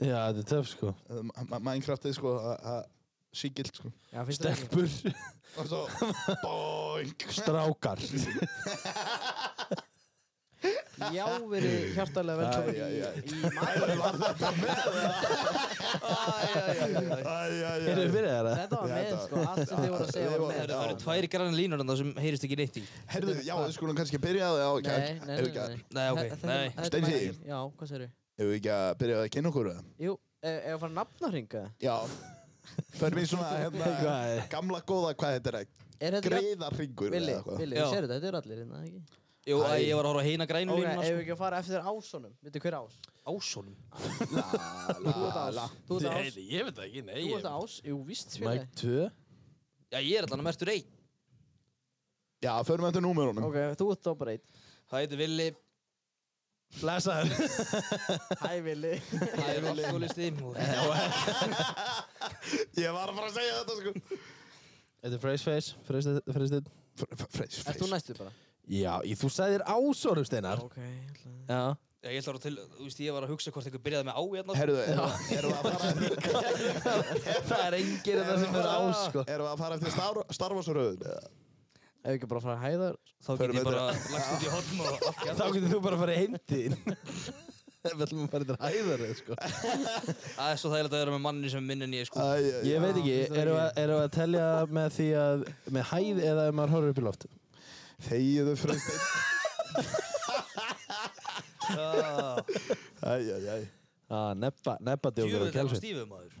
Já, þetta er töf sko Eh, Ma- Ma- Minecraftið sko að- að sígilt sko Já, finnst þér það ekki? Stelpur, og svo boing strákar Já, verið hjartalega Æ, velkomin æ, æ. í, í maður Erum við fyrir þeirra? Þetta var með, Þetta- sko, allt sem þið voru að segja var Já, með já. Það eru tvær grann línur en það sem heyrist ekki neitt í Herðu, já, við skulum kannski byrja á því á Nei, nei, nei, Ef nei, Nei, ok, Þetta- þetta- nei. þetta er Steinsi. maður- Já, hvað segir við ekki að byrja á því að kynna okkur eða? Jú, eh, ef að fara nafnarringa Já Förum í svona hérna, Hvað er? gamla góða hvað þetta er Er þetta Greiðarringur Vili, eða eitthvað. Vili, Já. þú sér þetta, þetta er allir hérna, ekki? Jú, Æ. æ, ég var að horfa á heina grænu Ok, ef línuna við sko. ekki að fara eftir þér ásunum, veitu hver ás? Ásónum La, Þú ert la, ás, la. þú ert ás, Heyrðu, ég veit það ekki, nei þú ég- ert ás, jú, víst fyrir Mike 2 Já, ég er allan að mertur einn Já, förum eftir númerunum Ok, þú ert þá bara einn. Það heitir Villi, Lesaður Hæ, Vili. það er alkoholisti og- Ég var að fara að segja þetta sko Þetta er Freysface, Freysdinn Fr- fr- Freys, Ert þú freys næstu bara? Já, í- þú sagðir ásorum steinar Ok, alltaf. Já Já, ég ætla að vera til, þú veist, ég var að hugsa hvort einhver byrjaði með á hérna sko. Herðu, erum- erum við að fara Það er enginn þetta sem er ás sko Erum við að fara eftir Star- Star Wars röðun? Ef við ekki bara fara að hæðar, Þá get Förum ég við bara lagst út í horn og allt Þá getur þú bara að fara heimtíðin Við ætlum að fara þetta hæðarið sko Það er svo þægilegt að vera með manni sem er minni en ég sko Ég veit ekki, finnst það erum við að- erum við að telja með því að með hæð eða ef maður horfir upp í loft Þegiðu Freysteinn Æj, æj, æj Ah, Nebba, nebba djóður og Djöfull er hann kjálsveit stífum maður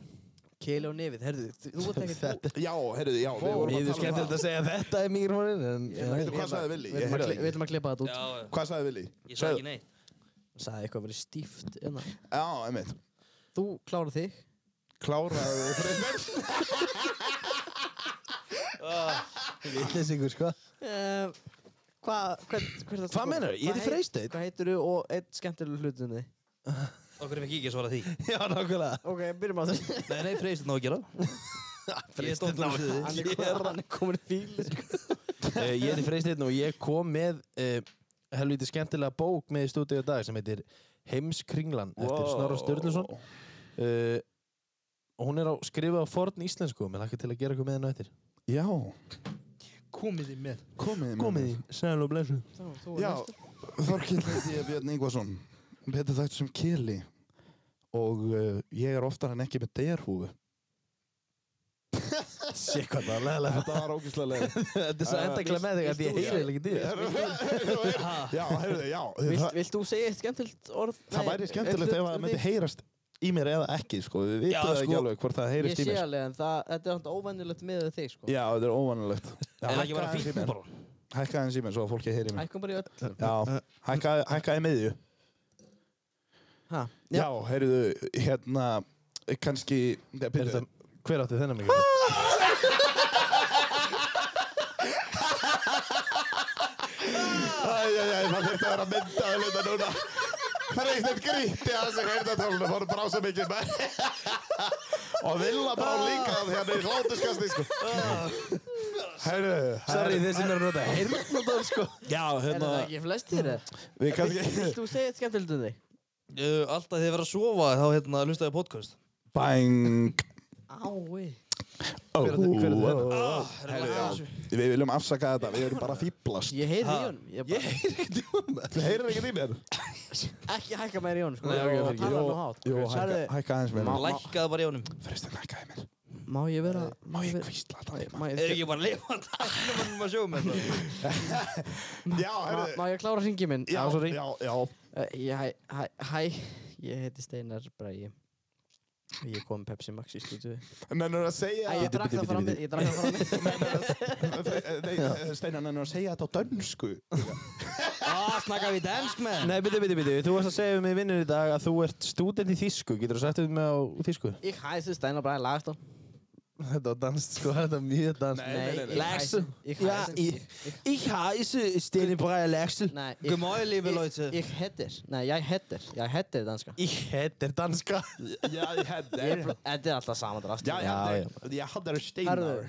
keili og nefið, herðu, þú- þú ert ekki Þetta Já, heyrðu, já, við vorum að Við tala um skemmtilegt það að segja þetta í mikrofonin en Ég veit Veitu hvað sagði Vili? Við Ég ætlum að heyrði kli- það við ekki ætlum að klippa þetta út. Já, Hvað sagði Vili? ég sagði ekki neitt Sæði eitthvað verið stíft, hérna. Já, einmitt Þú klárar þig. Kláraðu Freysteinn Vittlis ykkur sko Eh, Hvað, hvern, hvern Hvað meinarðu? Ég heiti Hvað heit- Freysteinn. Hvað heitir þú og einn skemmtileg hlutinni? Okkur er ekki ekki að svara því Já, nákvæmlega Ok, byrjum á þessu. Nei, nei, Freysteinn á að gera Ég er stótt náttúrulega Hann er komin- hann er komin í fíli, sko. Eh, Ég heiti Freysteinn og ég kom með uh, helviti skemmtilega bók með í stúdíu í dag sem heitir Heimskringlan eftir Snorra Sturluson uh, og hún er á skrifa á forn íslensku með lakka til að gera eitthvað með hennu eftir Já, Komið þið með komið Komið Mm. í, sæl og blessu Þú, þú Já, Þorkill heiti ég Björn Ingvason Betur þægt sem Kili Og uh, ég er oftar en ekki með derhúfu Sér hvað það er leðilega Þetta var ógæslega leið Þetta er svo Ah, endaklega með þig að ég heyri ekki til þér. Já, heyrðu, já Vilt, Það, vilt þú segja eitt skemmtilegt orð? það Nei, væri skemmtilegt ef eitt hlut það um myndi þig? heyrast í mér eða ekki sko. Við vitum Já, það ekki sko, alveg hvort það Ég heyrist í sé mér alveg, en það, þetta er alltaf óvennilegt með þig, sko. Já, þetta er óvanulegt Er ekki bara aðeins í fínt mér. nú bara Hækka aðeins í mér svo að fólki heyri mig Ækkum bara í öll. Já, hækka, hækka í miðju Ha, Já, heyrðu, hérna kannski Nei, Er byrju. þetta- Hver átti þennan mikið? Ah! Æ, æ, æ, það þurfti að vera mynda að hluta núna Það er eitthvað gríti að þessi heyrðartólunum voru brá svo mikið með og vilja brá líka hérna í hlátuskasti sko. Heyrðu, Sorry, þeir sem eru að nota heyrnadóð sko Já, er hérna það ekki flestir? eða? Við kannski Vilt þú segja eitt skemmtilegt um þig? Uh, Alltaf þið verið að sofa þá hérna hlustaði á podcast Bang Ái. Ó, Hver átti- hver átti ó, þennan? ó. Herðu, já. Við viljum afsaka þetta, við erum bara að fýblast Ég heyrði í honum. Ég bara, Þú heyrir ekki í mér? ekki hækka meir í honum, sko. Nei, ok, og fyrir ekki. tala nú hátt. Jú, Ok, hækka, sagði- hækka aðeins mér Lækkaði bara í honum Fyrstin hækkaði mér Má ég vera... Má ég kvísla þetta heima? Má ég, Er ekki bara að lifa Þannig að maður um sjóum þetta Já, má, má heyrðu ég klára hringi minn? Já, Já, sorry. já, já Uh, ég, hæ, hæ, hæ, ég heiti Steinar Bræi. Ég kom með Pepsi Max í stúdíu. Mennur að segja Æ, ég drakk það fram með, ég drakk það fram með. Nei, Steinar nennir að segja þetta á dönsku Ah, snakka við dansk með Nei, byrju, byrju, byrju, þú varst að segja við mig í vinnunni í dag að þú ert stúdent í þýsku, getur þú sagt við mig á þýsku? Ég hæsi Steinar Bræi Lagstón. Þetta var danst sko, þetta var mjög danst Nei, nei, nei. ég hæsi. Ég Ja, hæsi. ég, ég heiße Stine Breyer Laxel. Nei, ég- Good morning, liebe ég- Leute. Ég hættir. Nei, ég hættir. Ég hættir danska. Ég heter danska. Já, ég Ég hefði pl- Þetta er alltaf sama drast. Já, Já, ég hefði Ég hefði Steinar Herðu,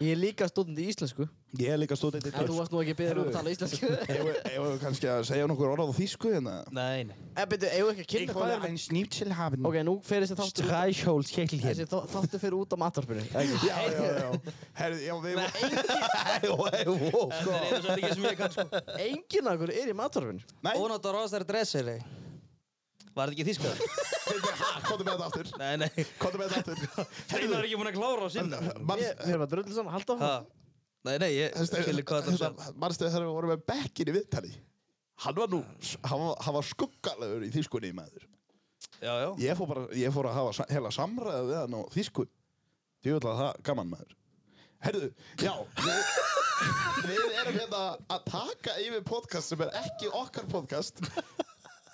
Ég er líka stúdend í íslensku. Ég er líka stóð En þú eitthvað. varst nú ekki beðið um að Heyrðu. tala íslensku. Ef við kannski að segja nokkur orðað á þýsku hérna. Nein. En betur, eigum við ekki að kynna hvað er ein snýpsil hafinn. Ok, nú fer þessi þáttur út- Stræshóls þessi þó- þáttur fyrir út á matvarpinu. Já, já, já. Herðu, já, við... Sko, Sko- Þetta er einu svo ekki sem ég kann sko. Enginn af okkur er í matvarpinu. Nei, Ónátt að rosa þær dressir, ei. Var þetta ekki þýskað? komdu með þetta aftur. Nei, nei. Komdu með þetta aftur. Steinar hérna. er ekki búinn að klára á sinna. Mann- Við erum að hérna, drullu saman, halda Ha? á. Nei, nei, ég skilur hvað það er. Manstu þegar við vorum með bekkin í viðtali Hann var nú, hann var, hann var skuggalegur í þýskunni maður Já, já. Ég fór bara, ég fór að hafa sa- heila samræðu við hann á þýsku Því vil að það gaman maður Herðu, já við, við erum hérna að taka yfir podcast sem er ekki okkar podcast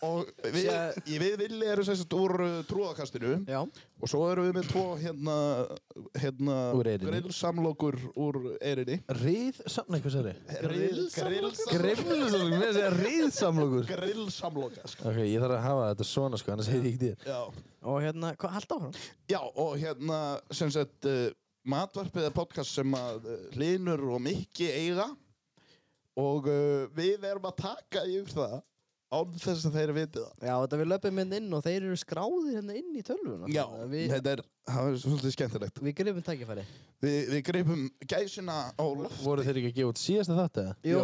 Og við, ég, við villi erum sem sagt úr uh, trúðakastinu Já. Og svo erum við með tvo hérna, hérna Úr Eyrinni. Grillsamlokur úr eirinni Ríð samlokur, hvað sagði? Grillsamlokur Grillsamlokur, með þess að ríð samlokur Grillsamloka sko. Ok, ég þarf að hafa þetta svona sko, annars heiti ég ekki þér já. Og hérna, hvað, halda á hann? já, og hérna sem sagt uh, matvarpið er podcast sem að uh, Linur og Mikki eiga og uh, við erum að taka yfir það án þess að þeir viti það Já, þetta við löpum hérna inn og þeir eru skráðir hérna inn í tölvuna. Þannig að Við, þetta er, það er svolítið skemmtilegt við grifum tækifæri. Við, við greipum gæsina á loft Voru þeir ekki að gefa út síðasta þátt eða? Jú,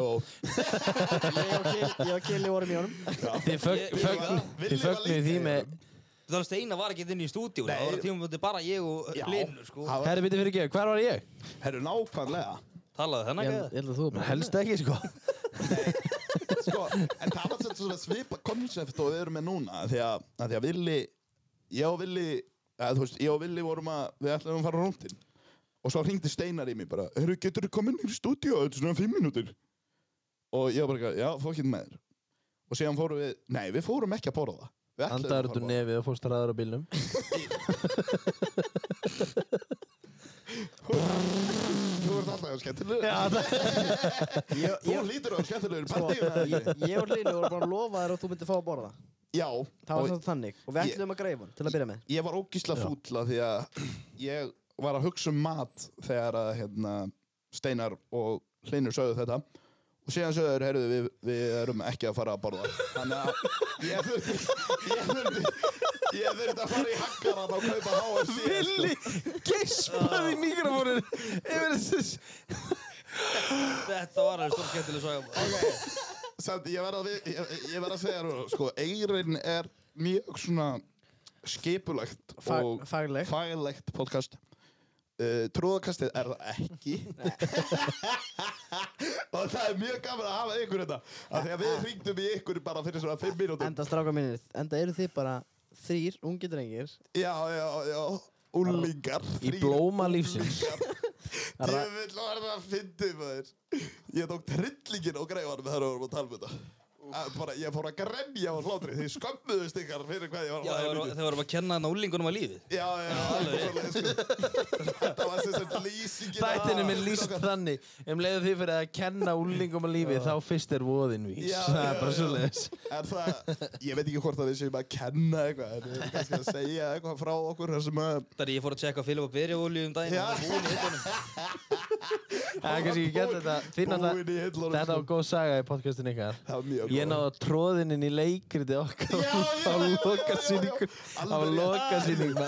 ég og Kili- ég og Kelly vorum í honum. Þið fögn- Ég- ég- fögn- þið Villi var fögnuðu líka því í með Þannig að Steinar var ekki inn í stúdíu. Það Nei. var tímaböndi bara ég og Já. Linur, sko. Það var- Herri, byrju fyrir ekki, hvar var ég? Herru, nákvæmlega Talaði Ég þannig held að ég held að þú Men Helst ekki sko sko, en það var svolítið svona svipa konsept og við erum með núna af því að, að, því að Villi ég og Villi að, þú veist, ég og Villi vorum að við ætlum að fara rúndin og svo hringdi Steinar í mig bara Heru, getur þú komin í stúdíu þetta er svona fimm mínútur og ég var bara, eitthvað, já, fókinn með þér og síðan fórum við, nei, við fórum ekki að borða Við ætluðum Andaður að út úr fara að nefið og fórst ræður á bílnum borða. Þú ert alltaf skemmtilegur Ég- Þú ég- lítur á skemmtilegur sko, partíu eða ekki? ég- Ég og Linu vorum bara að lofa þér að þú myndir fá að borða. Já, Það var og- svona þannig. Og við Ég- ætlum að greifa hann til að byrja með. ég var ógísla fútla því að ég var að hugsa um mat þegar að hérna, Steinar og Hlinur sögðu þetta og síðan sögðu þeir, heyrðu, við, við erum ekki að fara að borða þannig að ég þurfti ég þurfti ég þurfti að fara í haggaran og kaupa HFC Villi Ah. geispaði í mikrofónin yfir þessis þetta var alveg stór skemmtileg saga. Samt, ég verð að, við- ég, ég verð að segja þér, sko, Eirin er mjög svona skipulegt og Fag- Fagleg. faglegt podcast uh, trúðakastið er það ekki og það er mjög gaman að hafa ykkur þetta af því að við hringdum í ykkur bara fyrir svona 5 mínútur Enda stráka mínir, enda eru þið bara þrýr ungi drengir já, já, já, úlingar Í blóma lífsins ég vil var það að fyndi maður ég tók trillingin og greifanum þegar við vorum að tala um þetta Að bara, ég fór að gremja á hlátri því skömmuðust ykkar fyrir hvað ég var að Já, þeir hlæja voru- mikið. þeir vorum að kenna hann úlingunum að lífið. já, já, alveg svoleiðis, sko. þetta var sem sagt lýsingin á- Þættinum er lýst þannig um leiðu því fyrir að kenna úlingum að lífi þá fyrst er voðin vís Já, Það já, er bara já. svo leiðis En það, ég veit ekki hvort að við séum að kenna eitthvað, en við erum kannski að segja eitthvað frá okkur þar sem að... Þannig að ég fór að tjekka Filip og Byrja um daginn Já. og hann var búinn í hittunum. Það er kannski ekki gert þetta Þín alltaf Búin í hillunum. Þetta var góð saga í podcastin ykkar Það var mjög góð. Ég náði tróðininn í leikriti Já, okkar já, já, á já, já, já. lokasýningu Alveg á rétt. lokasýningu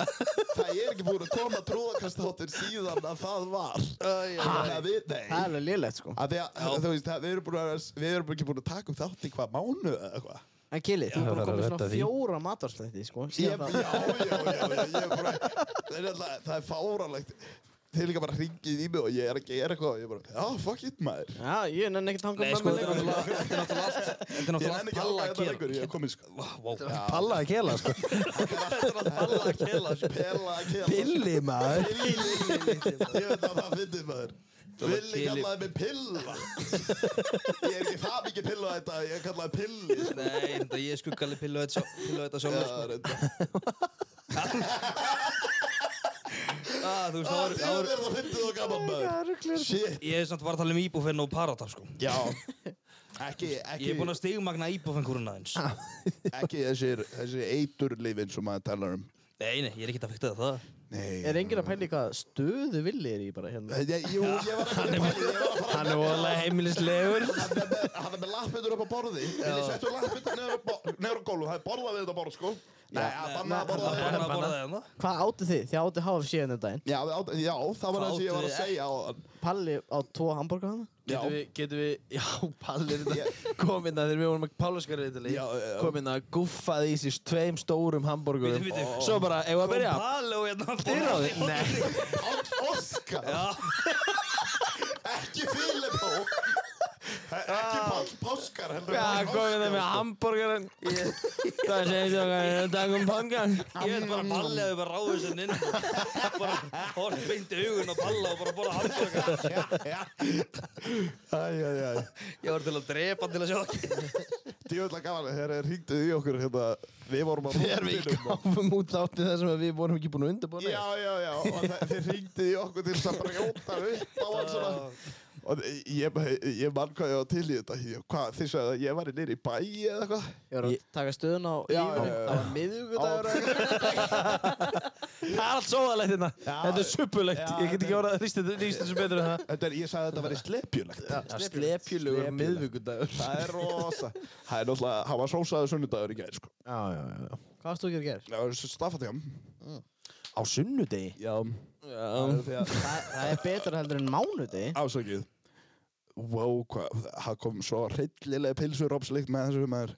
Það er ekki búin að koma trúðakastáttir síðan að það var. Þannig að við, Það er nei. alveg lélegt sko Að því að, að, þú veist, að við erum búin að, við erum ekki búin að taka upp þátt í hvað mánu eða eitthvað. En Kili, Já, þú er það er bara að komið svona redda því. fjóra matvarslætti sko Ég, já, síðan það- já, já, já, ég er bara, það er alltaf, það er fáralegt. Þeir líka bara hringið í mig og ég er að gera eitthvað og ég er bara, já, fuck it, maður. Já, ég nenni ekkert hanga Nei, með sko, mér þetta er lengur. náttúrulega þetta er náttúrulega allt Þetta er Ég náttúrulega nenni ekki að allt palla halda að þetta gera. lengur, ég er komið sko. Vá, vá. Þetta Pallaði að kela sko er allt palla að kella, sko. Pela að kela. Billy maður Ég veit að það fyndið maður var Villi kili- kallaði mig pilla Ég er ekki það mikið pilla þetta Ég kallaði pilli sko. Nei, þetta ég skuggaði pillu þetta sjálf- pillu þetta Já, sjálf sko. reyndar. Ah, Þú veist, Ah, það var- Þið það er var það fyndið og gaman maður Shit Ég er samt var að tala um íbúfenn og paradaf sko. Já Ekki, Ég ekki, er búinn að stigmagna íbúfenn kúruna aðeins ekki þessir, þessir eiturlifin sem maður talar um Nei, nei, ég er ekkert að fykta það Nei. Er enginn að pæla í hvað stöðu villi er í bara hérna? Ég, jú, ég var ekki að pæla, ég var að fara Hann er ólega heimilislegur Hann er með, hann er með lappbytur upp á borði Vilji settu lappbytur neður á bo- neður á gólum Það er borðað við þetta borð, sko Nei, að banna að borða Banna að Banna. borða þeirna Hvað áttu þið? Þið áttu HFC en um daginn. Já, við át- já, það var Hvað það sem ég var að áttu við? segja á hann Palli á tvo hambúrgar hana? Getum við, getum við, já, Palli hérna kominn að þegar við vorum að Pálaskarið í Já, Ítali já. kominn að guffaði í sér tveim stórum hambúrgurum Bíddu, bíddu. Svo bara, eigum við að byrja? Palo hérna að Þið borða ráði? þeirna. Nei, Páll Óskar, Já, ekki Filipó Ekki Páll Páskar heldur hvað Páll komið Óskar, það hérna með sko. hambúrgarinn? Það er sem það er að taka um pangan ég held bara að Palli hefði bara ráðið sér inn bara hort beint í augun og Palla og bara borða hamburgara Já, já Æ, já, já Ég var til að drepa til að sjá ekki Djöðla gaman, þeir ringduð í okkur hérna Við vorum að Þegar við rúntinum og- gáfum út þátti þar sem að við vorum ekki búin að undirbúna Já, já, já, og þe- þeir ringduð í okkur til þess að brjóta upp á hann svona Og ég, ég mann hvað ég var til í þetta Ég- Hvað, þið sagði að ég var nýri í bæ eða eitthvað Ég var að Ég- taka stöðun á Já, lífunni. já, já. Það var miðugudagur. Það er allt sóðalegt hérna Þetta er suppulegt, Já, ég get ekki þetta- orðað að lýsta þetta- lýsta þessu betur en það Þetta er, ég sagði að þetta væri slepjulegt Já, Slepjulegur miðvíkudagur Það er rosa Það er náttúrulega, hann var sósaður sunnudagur í gæð sko. Já, já, já Hvað varst þú ekki að gera? Já, staffatjám Mm. Á sunnudegi? Já, Já þegar Það, það er betra heldur en mánudegi. afsakið Wow, hvað, það kom svo hryllilega pilsur opslikt með þessu maður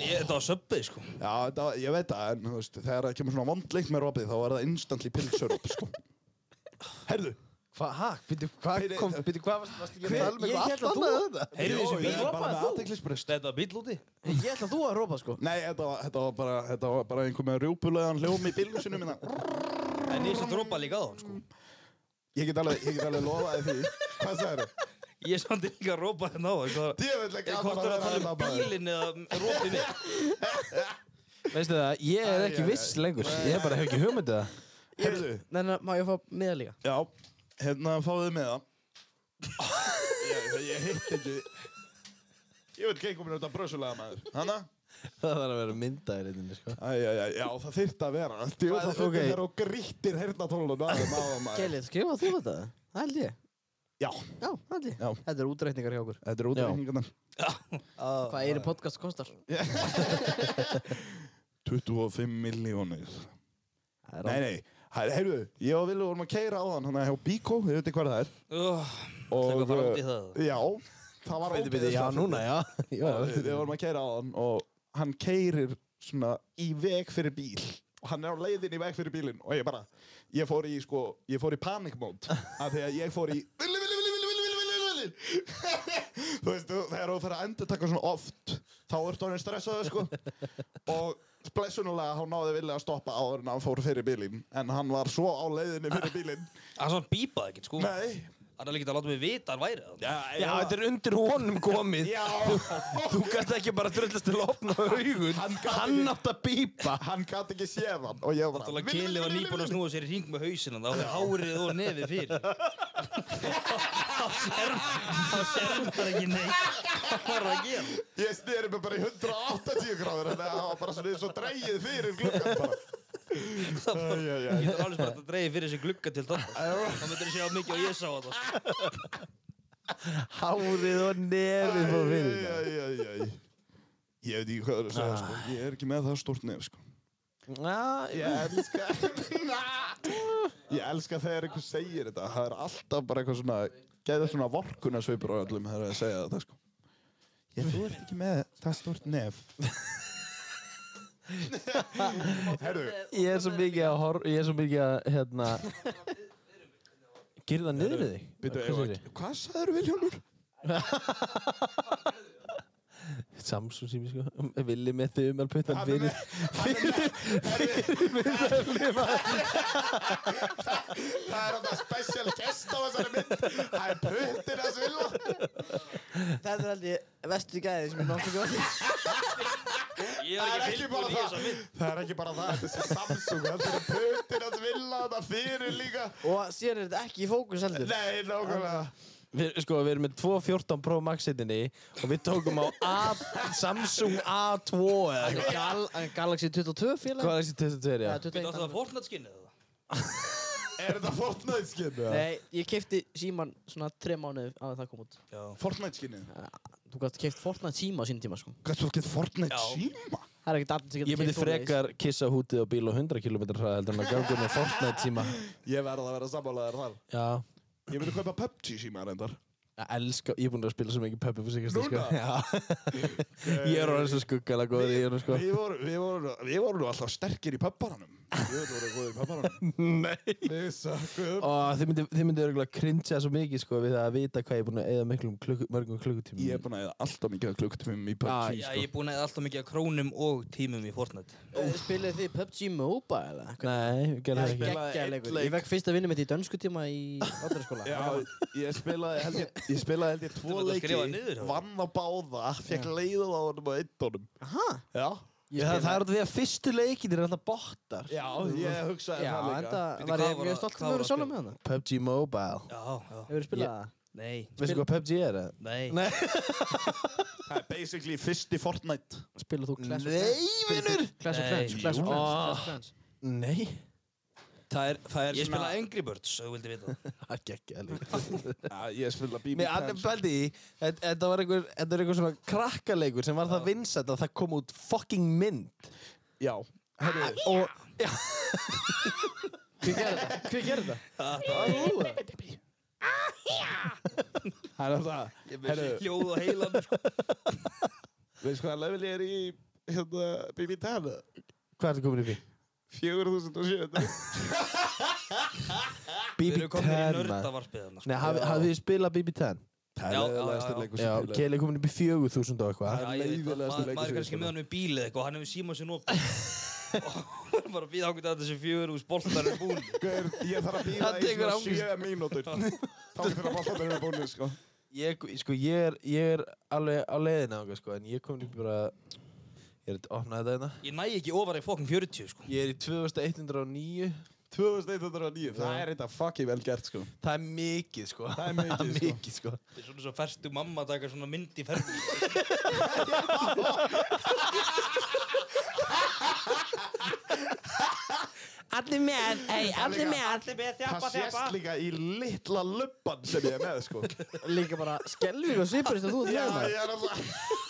Ég- Þetta var söppið sko Já, þetta, var- ég veit það, en þú veist, þegar það kemur svona vondleikt með ropið, þá er það instantly pilsur upp, sko. Heyrðu, Hvað, hæ, býttu, hvað Heyrðu, kom, það- býttu, hvað varst, varst ekki að Hver- tala með ég eitthvað hélt að allt þú- annað en þetta? Heyrðu þessi ég bíl er bara ropaðir með þú? aðteglisbrist. Þetta var bíl úti Ég ætla að þú að rópa sko. Nei, þetta, var- þetta, var bara, þetta var bara einhver með rjúpulegan hljóm í hérna. bílum sinum minna. En ég svo dropa líka á hann sko Ég get alveg, ég get alveg lofaði því. Hvað sagður þau? Ég samt líka að ropa hérna á hann sko. Djöfellega Ég hvort gaman að er að vera tala hérna um bara. bílinn eða ropið mig Veistu það, ég er Æ, æ, ekki æ. viss lengur, ég bara hef ekki hugmyndið það Heyrðu, Nei, nei, má ég fá miða líka? já, hérna fáðu með það. ég, ég hitt ekki. Ég veit ekki einhvern veginn út af brösulega maður. Hanna? Það þarf að vera myndaðir einnig, sko Æ, æ, æ, já, það þyrft að vera. Djöfell, Hvað- ok. það er og grýttir heyrnatólun aðeins aðeins maður. Kelly, skrifa þú þetta? Það held ég. Já, Já, það held ég. Já. Þetta er útreikningar hjá okkur. þetta er útreikningarnar. Hvað einu podcast kostar? 25 milljónir. Það er Nei, nei, hæ- heyrðu, ég og Villu vorum að keira á þann, hann er hjá Bíko, þið veitir hvað það er. Það var uh, farandi í það Já, það var Býttu, býttu, já, ógeðslega núna, já Já, fyndið. já, Við við vorum að keira á hann og hann keirir svona í veg fyrir bíl og hann er á leiðin í veg fyrir bílinn og ég bara, ég fór í sko, ég fór í panic mode af því að ég fór í villi, villi, villi, villi, villi, villi, villi, villi þú veist, þú- þegar þú fyrir að endur taka svona oft þá ertu hann stressaður sko og blessunulega hann náði villi að stoppa áður en hann fór fyrir bílinn en hann var svo á leiðinni fyrir bílinn Það er svona bípað ekkert sko Það nei, er alveg ekki að láta mig vita að hann væri það já, þetta er undir honum komið já Þú gæst ekki bara drullast til opna augun Hann gat Hann átt að bípa hann gæti ekki séð hann og ég bara Náttúrulega Kelly var nýbúin að snúa sér í hring með hausinn Það var hárið og nefið fyrir Það sér Það sér bara ekki neitt Hvað var það að gera? ég sneri mig bara í 180 gráður þannig að það var bara svona eins og dreigið fyrir gluggan bara Það bara- Æ, æ, æ. Ég getur alveg bara að dreigja fyrir þessi glugga til þannig Það myndir að sjá mikið og ég sá þetta sko. Hárið og nefið fór Æ, fyrir æ, æ, æ, æ. ég veit ekki hvað það er að segja sko. ég er ekki með það stórt nefn sko. Já, já ég elska ég elska þegar einhver segir þetta það er alltaf bara eitthvað svona geða svona vorkuna á öllum þegar það segja þetta sko. ég þú ert ekki með það stórt nef herru Ég er svo mikið að horfa, ég er svo mikið að, hérna Gerðu það niður við þig? Bíddu, Hvað eigum segirðu? við að- Hvað sagður Viljónur? Samsung sími sko Villi með þumel puttan fyrir Það er þetta special guest á þessari mynd Það er puttin að svilla Þetta er held ég vestu gæði sem ég náttúrulega gott. Ég Það var er ekki ekki bara tilbúin í það þessa mynd Það er ekki bara það Þetta er Samsung Það er puttin að svilla Þetta fyrir líka Og síðan er þetta ekki í fókus heldur. Nei, nákvæmlega við, Sko við erum með 2.14 Pro Max hittinni Og við tókum á A, Samsung A2 eða eitthvað. Gal Galaxy 22 félag? Hvað er þessi 22 já? Eða 21. Þetta var Fortnite skinnið það Er þetta Fortnite skinni? eða? Nei, ég kefti síman svona tre mánuði að það kom út. Já. Fortnite skinni? Þú gætt keft Fortnite síma á sín tíma, sko. Hvað þú getið Fortnite Já. síma? Það er ekkert allir sem getur Ég myndi keypt svoleiðis. frekar kissa hútið á bíl á 100 km hraða heldur en að gangur með Fortnite síma. Ég verð að vera sammálaðar þar. Já. Ég myndi kaupa PUBG síma reyndar. Ég elska, ég er búinn að spila svo mikið Peppi fyrir sikast. Núna? Sko. Já. Ég er orðin svo skuggalega góður í hérna sko. Við vorum við voru, við voru nú alltaf sterkir í pöpparanum. Við vorum góðir í pöpparanum. Nei. Við sökum. Og þið myndi, þið myndi örgulega cringea svo mikið sko við það að vita hvað ég er búinn að eða miklum klukku, mörgum klukkutímum. Ég er búinn að eða alltaf mikið klukktum Já, í PUBG, Já, sko. ég er búinn að eða alltaf mikið af krónum og tímum í Fortnite. Eh, Spilið þið PUBG Mobile eða? Nei, við gerum Það það er ekki. spilaði einn geggjaður leikur. leik. Ég fekk fyrsta vinnu mitt í dönsku tíma í átverðarskóla. Já, ég spilaði held ég, ég spilaði held ég tvo Þetta var að skrifa leiki, niður, já. vann á báða, fekk leiðið á honum og eitt honum. Aha. Já, Já, það, það er orðið því að fyrstu leikin er alltaf botar. já, ég hugsaði Já, það líka. enda var Bíddu, ég hvað var mjög að- stolt hvað að var vera að sjálf spila? með hana. PUBG Mobile. Já, já. Hefur þið spilað það? Nei, Veistu hvað PUBG er það? nei. Nei. Það er basically fyrsti Fortnite. Spilað þú Clash of Clans? Nei, vinnur! Clash of Clans, Clash of Nei. Jú. Clans, Clash of Clans. Nei. Það er, það er Ég ég spila spila Angry Birds, ef þú vildi vita það. Það gekk eða líka. Já, ég spilaði BB Mér annum bældi í, þ- þetta var einhver, þetta var einhver svona krakkaleikur sem var það vinsætt að það kom út fucking mynd. Já, herru, Og, Hver gerði það? Hver gerði það? Það það er það. er Herru, hljóð og heilan, sko. veist hvaða level ég er í hérna, BB Tan? hvað er það komin upp í? 4700. Við erum komin BB10, í maður. nördavarpið þarna, sko. Nei, hafið hafið þið spilað BB10? Það Já, er já, leiðilegasti já, já. Já, leikur sem ég spilaði. Keli er komin upp í 4000 og eitthvað. Það er Já, ég veit það. leiðilegasti Ma- leikur sem Maður er ég kannski með spilaði. hann með bílið eitthvað, hann hefur síma sér nóg. Og bara býða ákveð að þessi fjögur úr spoltar er búin. Gaur, Ég þarf að býða Það í tekur svona angist. 7 mínútur. Þá er fyrir að bóta þeirra bónu, sko. Ég, sko, ég er, ég er alveg á leiðina ákveð, sko, en ég komin upp bara, ég er að opna þetta hérna. Ég næ ekki ofar í fokkin 40, sko. Ég er í 2109. 2109, það Já. er eitthvað fucking vel gert, sko. Það er mikið, sko. Það er mikið, sko. mikið, sko. Þetta er svona svo ferstu mamma að taka svona mynd í ferðu. Allir með, ei, allir með, allir með, Það sést líka í litla löppan sem ég er með, sko. Líka bara skelving og svipurist að þú ert hérna. Já, með maður. ég er alltaf...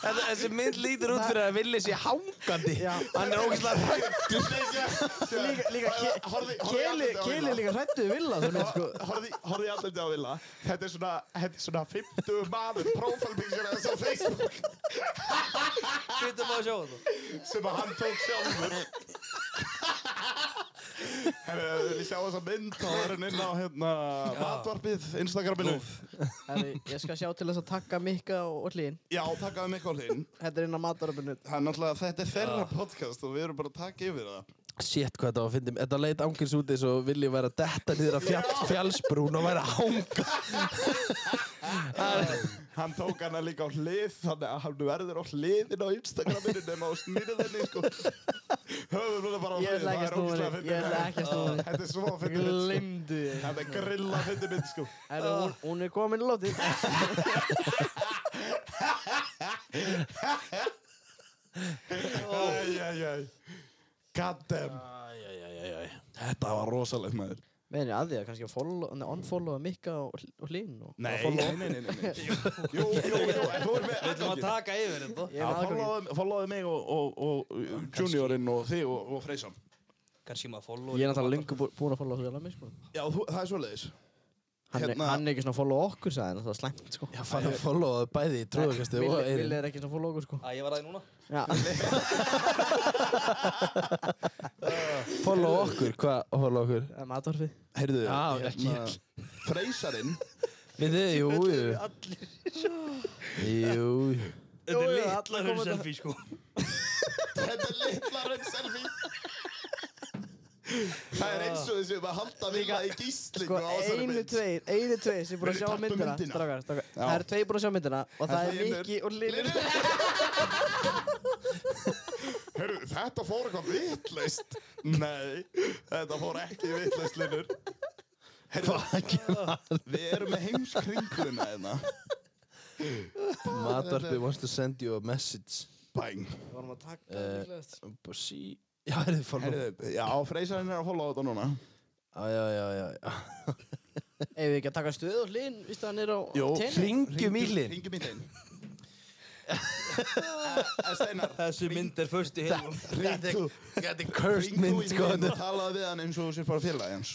Þetta, þessi mynd lítur út fyrir að vilja sé hangandi. Já. Hann er ógeðslega hægt. Líka, líka, ke- Keli, Keli er líka hrættuð villa, þú veist, sko. Horði allir á Villa Þetta er svona, þetta er svona 50 maður Profile picture hans á Facebook Sveitum að sjá þetta. Sem að hann tók sjálfur Herra, ef þið viljið sjá þessa mynd Þá er hann inn á hérna Matvarpið, Instagraminu Herri, ég skal sjá til þess að takka Mikka og Ollín. Já, takkaðu mig hólinn Þetta er inn á mataröpunni. Það er náttúrulega, þetta er þeirra podcast og við erum bara að taka yfir það Shit, hvað þetta var að fyndið. Þetta leit ángins út eins og vilja vera að detta niður af fjall, fjallsbrún og vera að hanga. Hann tók hana líka á hlið Þannig að hann verður á hliðin á Instagraminu Nefn á snýrið henni sko Höfum við bara á Ég hliðin ætla Það er ógæslega fyndið ekki að snúa henni, ég ætla ekki að snúa henni. Þetta er svo fyndið mynd, Glimdu sko. þig. Þetta er grilla fyndið mynd sko Herri, hún, hún er komin í lótið. Æj, æj, æj God damn Þetta var rosalegt maður Meðan ég að því að kannski að follow, nei, unfollowa Mikka og, og Hlín og... Nei, nei, nei, nei, nei. Jú, jú, jú, en þú er með Við ætlum að taka yfir þetta. Ég er aðgang. Followðu um- mig og, og, og juniorinn og þig og, og Freysan Kanski maður follow. Ég er náttúrulega lengur bú- búinn að followa þú alveg mig, sko. Já, þú, það er svoleiðis Hann, Hérna- er, hann er ekki svona að followa okkur, sagði hann, það var slæmt, sko. Já, fann að followaðu bæði í trúðakastu og Vil Eirin. er ekki svona að followa okkur, sko. Æ, ég var aðeins núna. Já, Follow okkur, hvað follow okkur? það er matorfið. Heyrðu, Já, hérna, ekki. Freysarinn Við þið, jú, jú. Jú, jú. Jú, jú, Þetta er allir litla koma raun þetta- selfie, sko. Þetta er litla raun selfie Það er eins og þessi um að halda vilja í gíslingu Sko, á þessari einu, mynd. tveir, einu, tveir sem búin að Við sjá tapum myndina, myndina. Strákar, strákar. Já. Það eru tveir búin að sjá myndina og það er Hlynur. Mikki og Lilur. Heyrðu, þetta fór eitthvað vitlaust Nei, þetta fór ekki vitlaust, Linur Heyrðu, við erum með heimskringuna hérna Matvarpi wants to send you a message. Bang Við vorum að taka Eh, líklegast. Bara sí. Já, er þið follow? Heyrðu, já, Freysarinn er að followa þetta núna Já, já, já, já, já. Ef við ekki að taka stöð og hlinn, vístu hann er á Jó, tenni? hringjum í hlinn. Ringjum í hlinn. Eh, Steinar, Þessu mynd er först í heilum. Þetta er- þetta er cursed mynd, ringdu í sko. hérna. hlinn og talaðu við hann eins og þú sér bara félagi hans.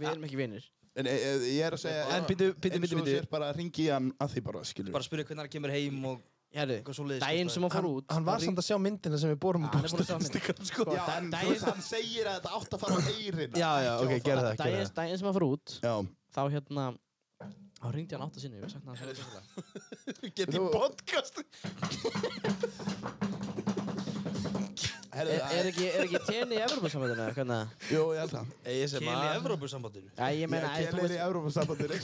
Við erum ekki vinnir. En e, e, ég er að segja, En bíddu, bíddu, eins bíddu, og þú bíddu. sko, sér bara að ringi í hann að því bara, skilur. Bara spyrja hvernig hann kemur heim og Hérðu, eitthvað svoleiðis. daginn sem hann fór Hann, út. hann var samt að sjá myndina sem við borum Hann er búin að sjá mynd. sko. Já, en þú veist, hann segir að þetta átt að fara á eyrina. Já, já, ok, ekki á að gerðu fara- það, gerðu Daginn, það. daginn sem hann fór út, Já. þá hérna, þá ringdi hann átt að sinni, ég sakna hann svo rosalega. Get í podcast. Herðu, Er- Er ekki, er ekki tenni í Evropasamöndinu eða hvernig? Jú, ég held það. Keli í Evrópusambandinu. Já, ég meina, æ, Ég þú kelir í veist, Európa-sambandinu.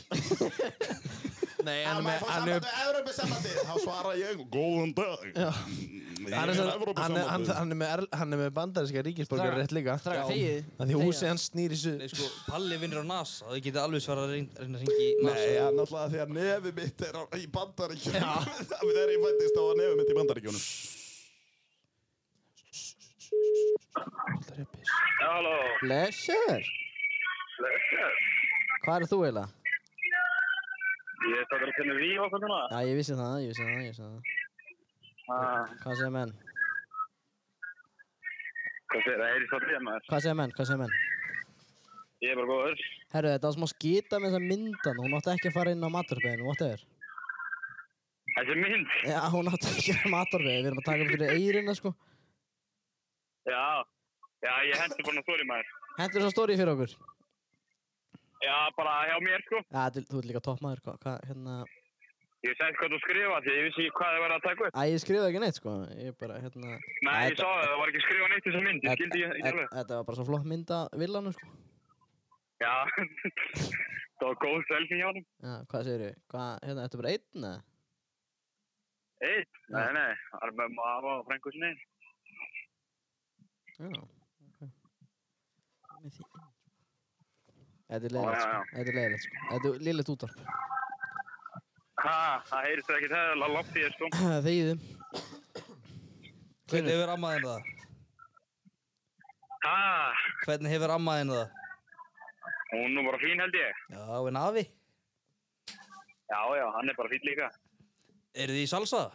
Nei, Ef hann er maður með, fór hann er, samband við Európa-sambandið, þá svara ég, góðan dag. Ég hann er, hann er er, hann er, Evrópusambandið. hann er með, erl- hann er með bandarinska ríkisborgar rétt líka. draga þegið. Það því Þegið. húsið hann snýr í Nei, suð. sko, Palli vinnur á NASA. Þau geta alveg svarað að reyna- reyna að ringi í Nei, NASA. það er náttúrulega því að nefi mitt er á- í bandaríkjunum. Þegar ég fættist á að nefi mitt í bandaríkjunum. Halló, Blessur, blessaður. hvað er þú eiginlega? Ég er stættur að finna við okkur núna. Já, ég vissi það, ég vissi það, ég vissi það. Ah, Hvað segir menn? Hvað segir það? Heyri svo til maður. Hvað segir menn? Hvað segir menn? Ég er bara góður. Herru, þetta var smá skita með þessa myndan, hún átti ekki að fara inn á maturbeginu, whatever. Þessi mynd. Já, hún átti ekki að fara á maturbeginu, við erum að taka um fyrir eyrina, sko. Já. Já, ég hendi bara stóri maður. Hendur þess að stóri fyrir okkur. Já, bara hjá mér sko. Já, þú, þú ert líka toppmaður, hvað, hvað, hérna... Ég sagði hvað þú skrifa því að ég vissi ekki hvað það var að taka upp. Æ, ég skrifaði ekki neitt, sko, ég bara, hérna... Nei, Æ, ég sá það. Það var ekki skrifa neitt í þessa mynd. Ég skildi ég ekki alveg. Þetta var bara svo flott mynd að villanum, sko. Já. það var góð selfie hjá hann. Já, hvað segir ég? Hvað, hérna, þetta er bara einn, eða? Eitt. Nei, nei. Það er með mafa og frængu sinni. Já, ok. Með því. sko. Þetta er leiðilegt, Já, já, sko. já. Þetta er leiðilegt, sko. Þetta er leiðilegt útvarp. Ha, það heyrist ekki það. Látti ég sko. Þegiðu. Hvernig hefur ammaðin það? Ha, Hvernig hefur ammaðin það? hún er nú bara fín held ég. Já, en afi? Já, já, hann er bara fín líka. Eru þið í salsa?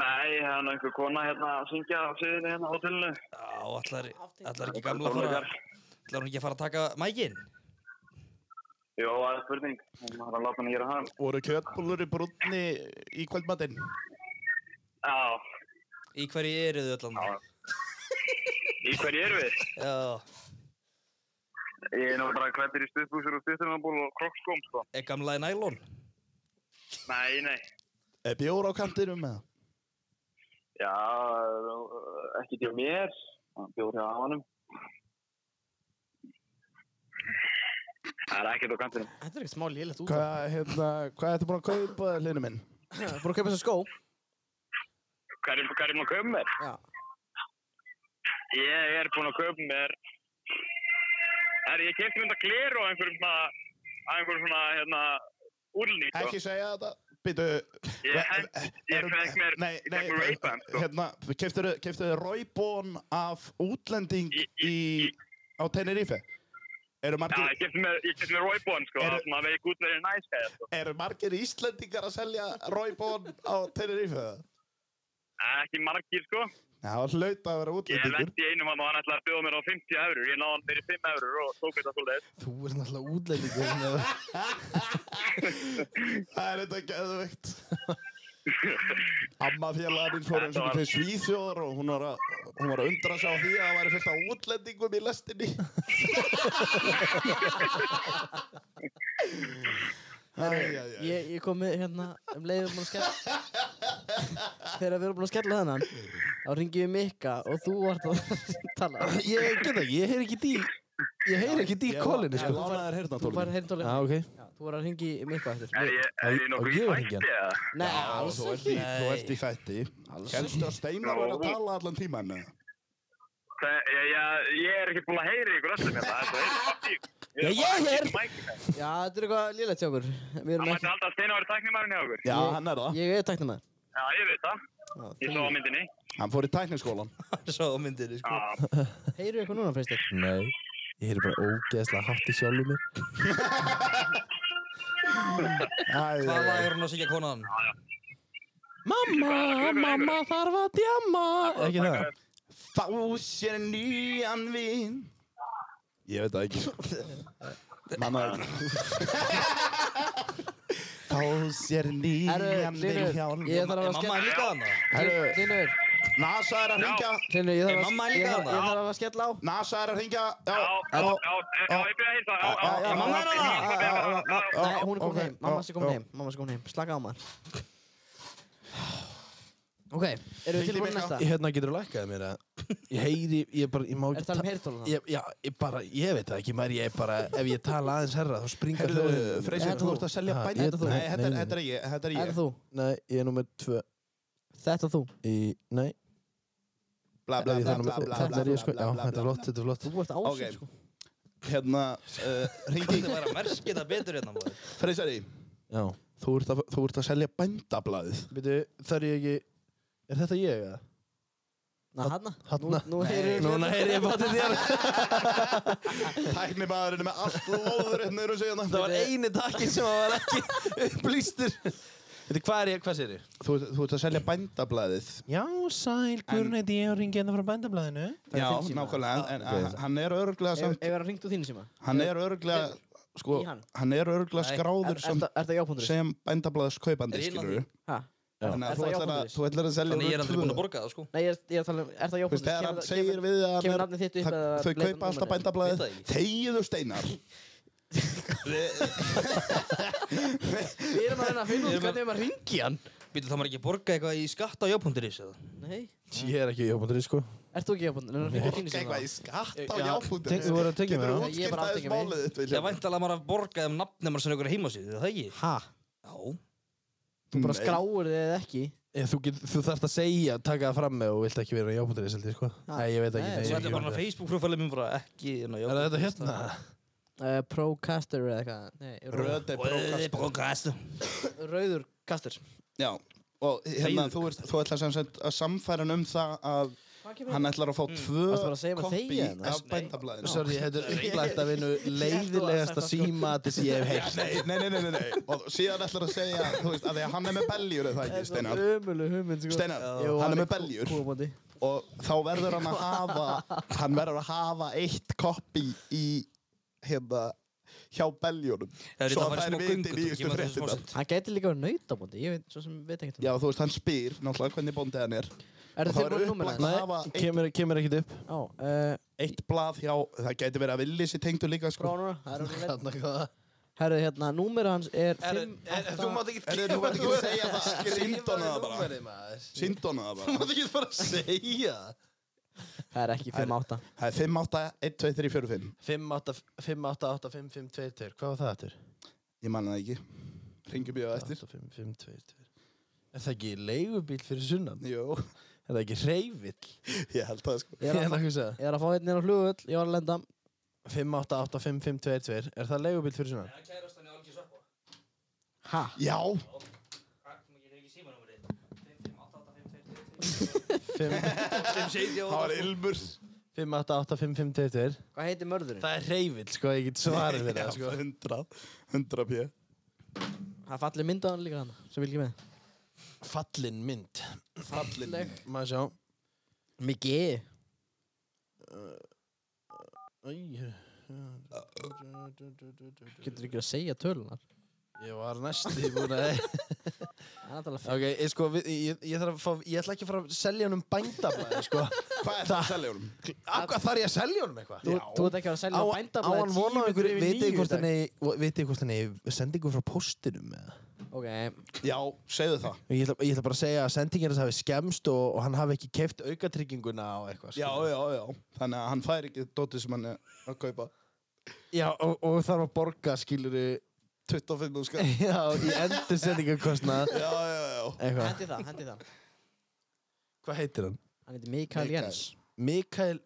Nei, það er nú einhver kona hérna að syngja á sviðinu hérna á hotellinu. Já, allar, allar ekki gamla að fara, allar hún ekki að fara að taka mækin? Jó, það er spurning. Hún har að láta hann gera hann. Voru kjötbúlur í brunni í kvöldmatinn? Já, Í hverju eru þið allan? í hverju erum við? Já, Ég er nú bara klættir í stuðbúsur og stuðbúsur og krokkskóm, sko. er gamla í nælon? Nei, nei. Er bjór á kantinum með það? Já, eh, ekki til mér. Hann Bjór hjá afanum. Það er ekkert á kantinum. Þetta er ekkert smá lélægt út. Hvað, hérna, hvað ertu búin að kaupa, hlinu minn? Búin að kaupa þessu skó? Hvað er, hvað er maður að kaupa mér? Já. Ég er búinn að kaupa mér Það er ég kemst mynda gleru á einhverjum svona á einhverjum svona hérna úrlný sko. Ekki segja þetta. Býtu... Ég hend- ég fekk mér- Nei, ég nei, fekk mér Ray-Ban, sko. hérna, keftuðu, keftuðu Ray-Ban af útlending Í- í, á Tenerife? Eru Já, margir, ég kemst mér, ég kemst mér Roybon sko, Eru- það er svona veik út með næskæði sko. eru margir Íslendingar að selja Ray-Ban á Tenerife? eða? Eh, Ekki margir sko. Já, það hlaut að vera Ég útlendingur. lendi í einum hann og hann ætlaði að bjóða mér á 50 eurur. Ég náði hann fyrir 5 eurur og tók þetta svolítið. Þú er náttúrulega útlendingur. Það er þetta geðveikt. Amma félagar mín fór eins og Þetta var- til Svíþjóðar og hún var, að, hún var að undra sig á því að það væri fullt af útlendingum í lestinni. Æ, æ, æ, æ. Ég, ég kom með hérna um leiðum búin að skella Þegar við erum búin að skella þennan þá ringi við Mikka og þú vart að tala Ég get ekki, ég heyr ekki dí, ég heyr ekki dí kólinni, Ég sko. lána þér hérna, Þú var Tólmi. Já, hérna Ah, ok. Þú var að ringi Mikka eftir Er ég, er ég nokkuð í ég var ekki fætti eða? Nei, alls Þú ert ekki í, þú ert í þætti. Kennstu að Steinar var að tala allan tíman? eða? Það- Ég, ég, ég er ekki búinn að heyra ykkur öllum hérna. Það er svo heyrið fætti ykkur. Já, ég er hér. Það Já, þetta er eitthvað lélegt hjá okkur Við erum mætti ekki alltaf steina að vera tæknimærin hjá okkur. Já, Ég- hann er það. Ég er tæknum að Já, ég veit það. Ég sá á myndinni. Hann fór í tækniskólan. Svo á myndinni, sko. Já, Heyrðu eitthvað núna, Freistir Nei. Ég heyri bara ógeðslega hátt í sjálfum mér. Æ, Hvað lag er hún að syngja konan? Mamma, mamma þarf að djamma. Ekki það? Fá sér nýjan vinn Ég veit það ekki Mamma Fá sér nýjan vinn hjá Hlynur, ég þarf að vera Er mamma skella líka þarna? Herru, Hlynur, NASA er að ringja Hlynur, ég Er þarf að- mamma ég líka þarf- þarna? ég þarf að skella á NASA er að ringja Já, Já, já, halló. já, já, ég byrja að heilsa. Já, Já, já, já, já, mamma er að- já, já, já, já, já. Nei, hún er ok, komin heim, mamma já, sé já. komin heim, mamma sé komin heim, slaka á maður Ok, eru Hringdu við í tilbúin í Mikka. næsta? Ég hérna getur lækkað mér að ég heyri, ég bara, ég má Er ekki það um ta- heyrtólan Ég, það? já, ég bara, ég veit það ekki, maður, ég er bara, ef ég tala aðeins herra, þá springar Herðu, hljóðin. Freysi, Þetta þú þú. ert að selja Ha, bæn ég- Nei, þetta nei, nei, er nei. þetta er ég Þetta er ég Er þú? Nei, ég er nummer tvö Þetta þú? í, nei, Bla, bla, ef ég bla, það bla, nummer bla, tvö, bla, þannig er ég sko, já, bla, bla, þetta er bla, flott, þetta er flott. Þú ert ásinn Ok. sko Hérna, ringi Þetta væri að merkja það betur hérna maður. Freysi, Já, þú ert að- þú ert að selja bændablaðið veitu, þar ég ekki, er þetta ég eða? Na, hana? hérna. Hanna. hérna. Nú, nú heyrir Núna heyri ég bara til þér. Tæknimaðurinn er með allt lóður hérna eru segja Það var eini takkin sem það var ekki upplýstur. Veitu, hvað er ég, hvað sér ég? Þú, ert- þú ert að selja bændablaðið Já, sæl, Guðrún heiti ég og ringi hérna frá bændablaðinu. Já, þinn síma. nákvæmlega, en, en Ok. hann er örglega Ef samt ef er að ringt úr þínu síma Hann er örglega, sko, Í hann? hann er örglega Nei, skráður Er sem, þetta jápundur? sem bændablaðis kaupandi, Er ég skilur við Ha? Já. Þannig að þú Er það ætlar að, jákvæður? þú ætlar að selja Þannig ég er honum aldrei tvö. búinn að borga það sko. Nei, ég er ég er að tala um, er það Þú veist, jápundur? þegar hann segir við að hann kemur er- nafnið þitt upp það- eða Þau leitar kaupa alltaf númerið? bændablaðið Veit það ekki. Þegiðu steinar Við erum að reyna að finna út Ég er með- hvernig við erum að ringi hann Býtu það maður ekki að borga eitthvað í skatta á jápunduris eða? Nei, Ég er ekki í jópundri, sko. ert þú ekki jápundur? Er það ringt úr þínu síma? Eitthvað í skatt á Já, jáfútur tek- þú voru að tekja mig, Getur já. þú Ég er bara útskýrt aðeins aftekið mig. málið þitt, Ég Vilhjálmur? vænti alveg að maður að borga þeim nafnum sem einhverja heimasíðu, er það ekki? Ha? Já. Þú bara Nei. skráir þig eða ekki? Ég, þú, get, þú þarft að segja, taka það fram með og vilt ekki vera í jápundur í seldi, sko. Ha. Nei, ég veit ekki. Nei, nei, Svo ég þetta er ekki bara Jópúndri. Facebook-profilið minn bara ekki inn á Er jápunduris. þetta hérna? Uh, Procaster eða eitthvað Nei, rauður- Röð er Þetta er brókast brókast. Rauður kastur Já, og hérna þú, ert, þú ætlar sem sagt að samfæra hann um það að Hvað kemur hann ætlar að fá tvö Varstu bara að segja maður koppi þegja hérna? af bændablaðinu Sorry, þetta er upplætt að vinna leiðilegasta leiðilegasta síma að þessi ég hef heilt. Nei, nei, nei, nei, nei, nei. Og síðan ætlar að segja, þú veist, að því að hann er með beljur eða það ekki, Steinar. Ömulu hugmynd sko Steinar, Jú, hann er með beljur Kúabóndi og þá verður hann að hafa, hann verður að hafa eitt koppi í, hérna, hjá beljunum. Það Svo var að smá þær viti göngu, nýjustu kemur það smá fréttina. stund. Hann gæti líka verið nautabóndi Ég veit, svo sem veit ekkert um Já, þú veist, hann spyr náttúrulega hvernig bóndið hann er. það. Er og það þá er tilbúin númer upplagt- þess? Nei, hafa eitt- kemur, kemur ekkert upp. Já, uh, Eitt blað hjá, það gæti verið að villi sér tengdu líka, frá sko. núna Það er orðið veit Þarna hvað? Herru, hérna, númer hans er Er- 5, er- Þú 8 mátt ekki Erðu, þú mátt ekki segja það, síndona það bara. maður. Síndona það Þú bara. mátt ekki bara segja. Það er ekki 5, 8 Það er 5, 8, 1, 2, 3, 4, 5. 5, 8, 5, 8, 8, 5, 5, 2, 2. Hvað var það eftir? Ég man það ekki. Ringjum ég á eftir. 8, 5, 5, 2, 2. Er það ekki leigubíl fyrir sunnan? Jó, Er það ekki reyfill? ég held það sko. Ég Ég er að er fá- að hugsa það. ég er að fá hérna inn á flugvöll Ég var að lenda 5, 8, 8, 5, 5, 2, 2. Er það leigubíl fyrir sunnan? Ha? Já, það var ilmur. 5, 8, 8, 5, 5, 2, 2. Hvað heitir mörðurinn? Það er reyfill, sko, ég get svarið fyrir Já, það, sko. 100, 100 pjö. Það fallir mynd á hann líka hann Sem vil ekki með Fallin mynd. Fallin. Leg. Maður sjá. Miki Æ, Getur ekki að segja tölunar Ég var næstu búin að... Það er náttúrulega Ok, ég, sko, við, ég, ég, þarf að fá, ég ætla ekki að fara að selja honum bændablaði, sko. Hvað er það seljum? Af hvað þarf ég að selja honum eitthvað? Þú, þú ert ekki að Á selja bændablaði hann vona á einhverju, vitið þið hvort hann eigi- vitið þið hvort hann eigi sendingu frá postinum eða? Ok, Já, segðu það. Ég ætla, ég ætla bara að segja að sendingin hans hafi skemst og, og hann hafi ekki keift aukatrygginguna og eitthvað. Já, skilurðu. já, já. Þannig að hann fær ekki dótið sem hann er að kaupa. Já, og, og þarf að borga, skilur 25 og skall. já, í endur sendingakostnað. Já, já, já. Eitthvað. hendi það, hendi það Hvað heitir hann? Hann heitir Mikael Mikael. Jens Mikael,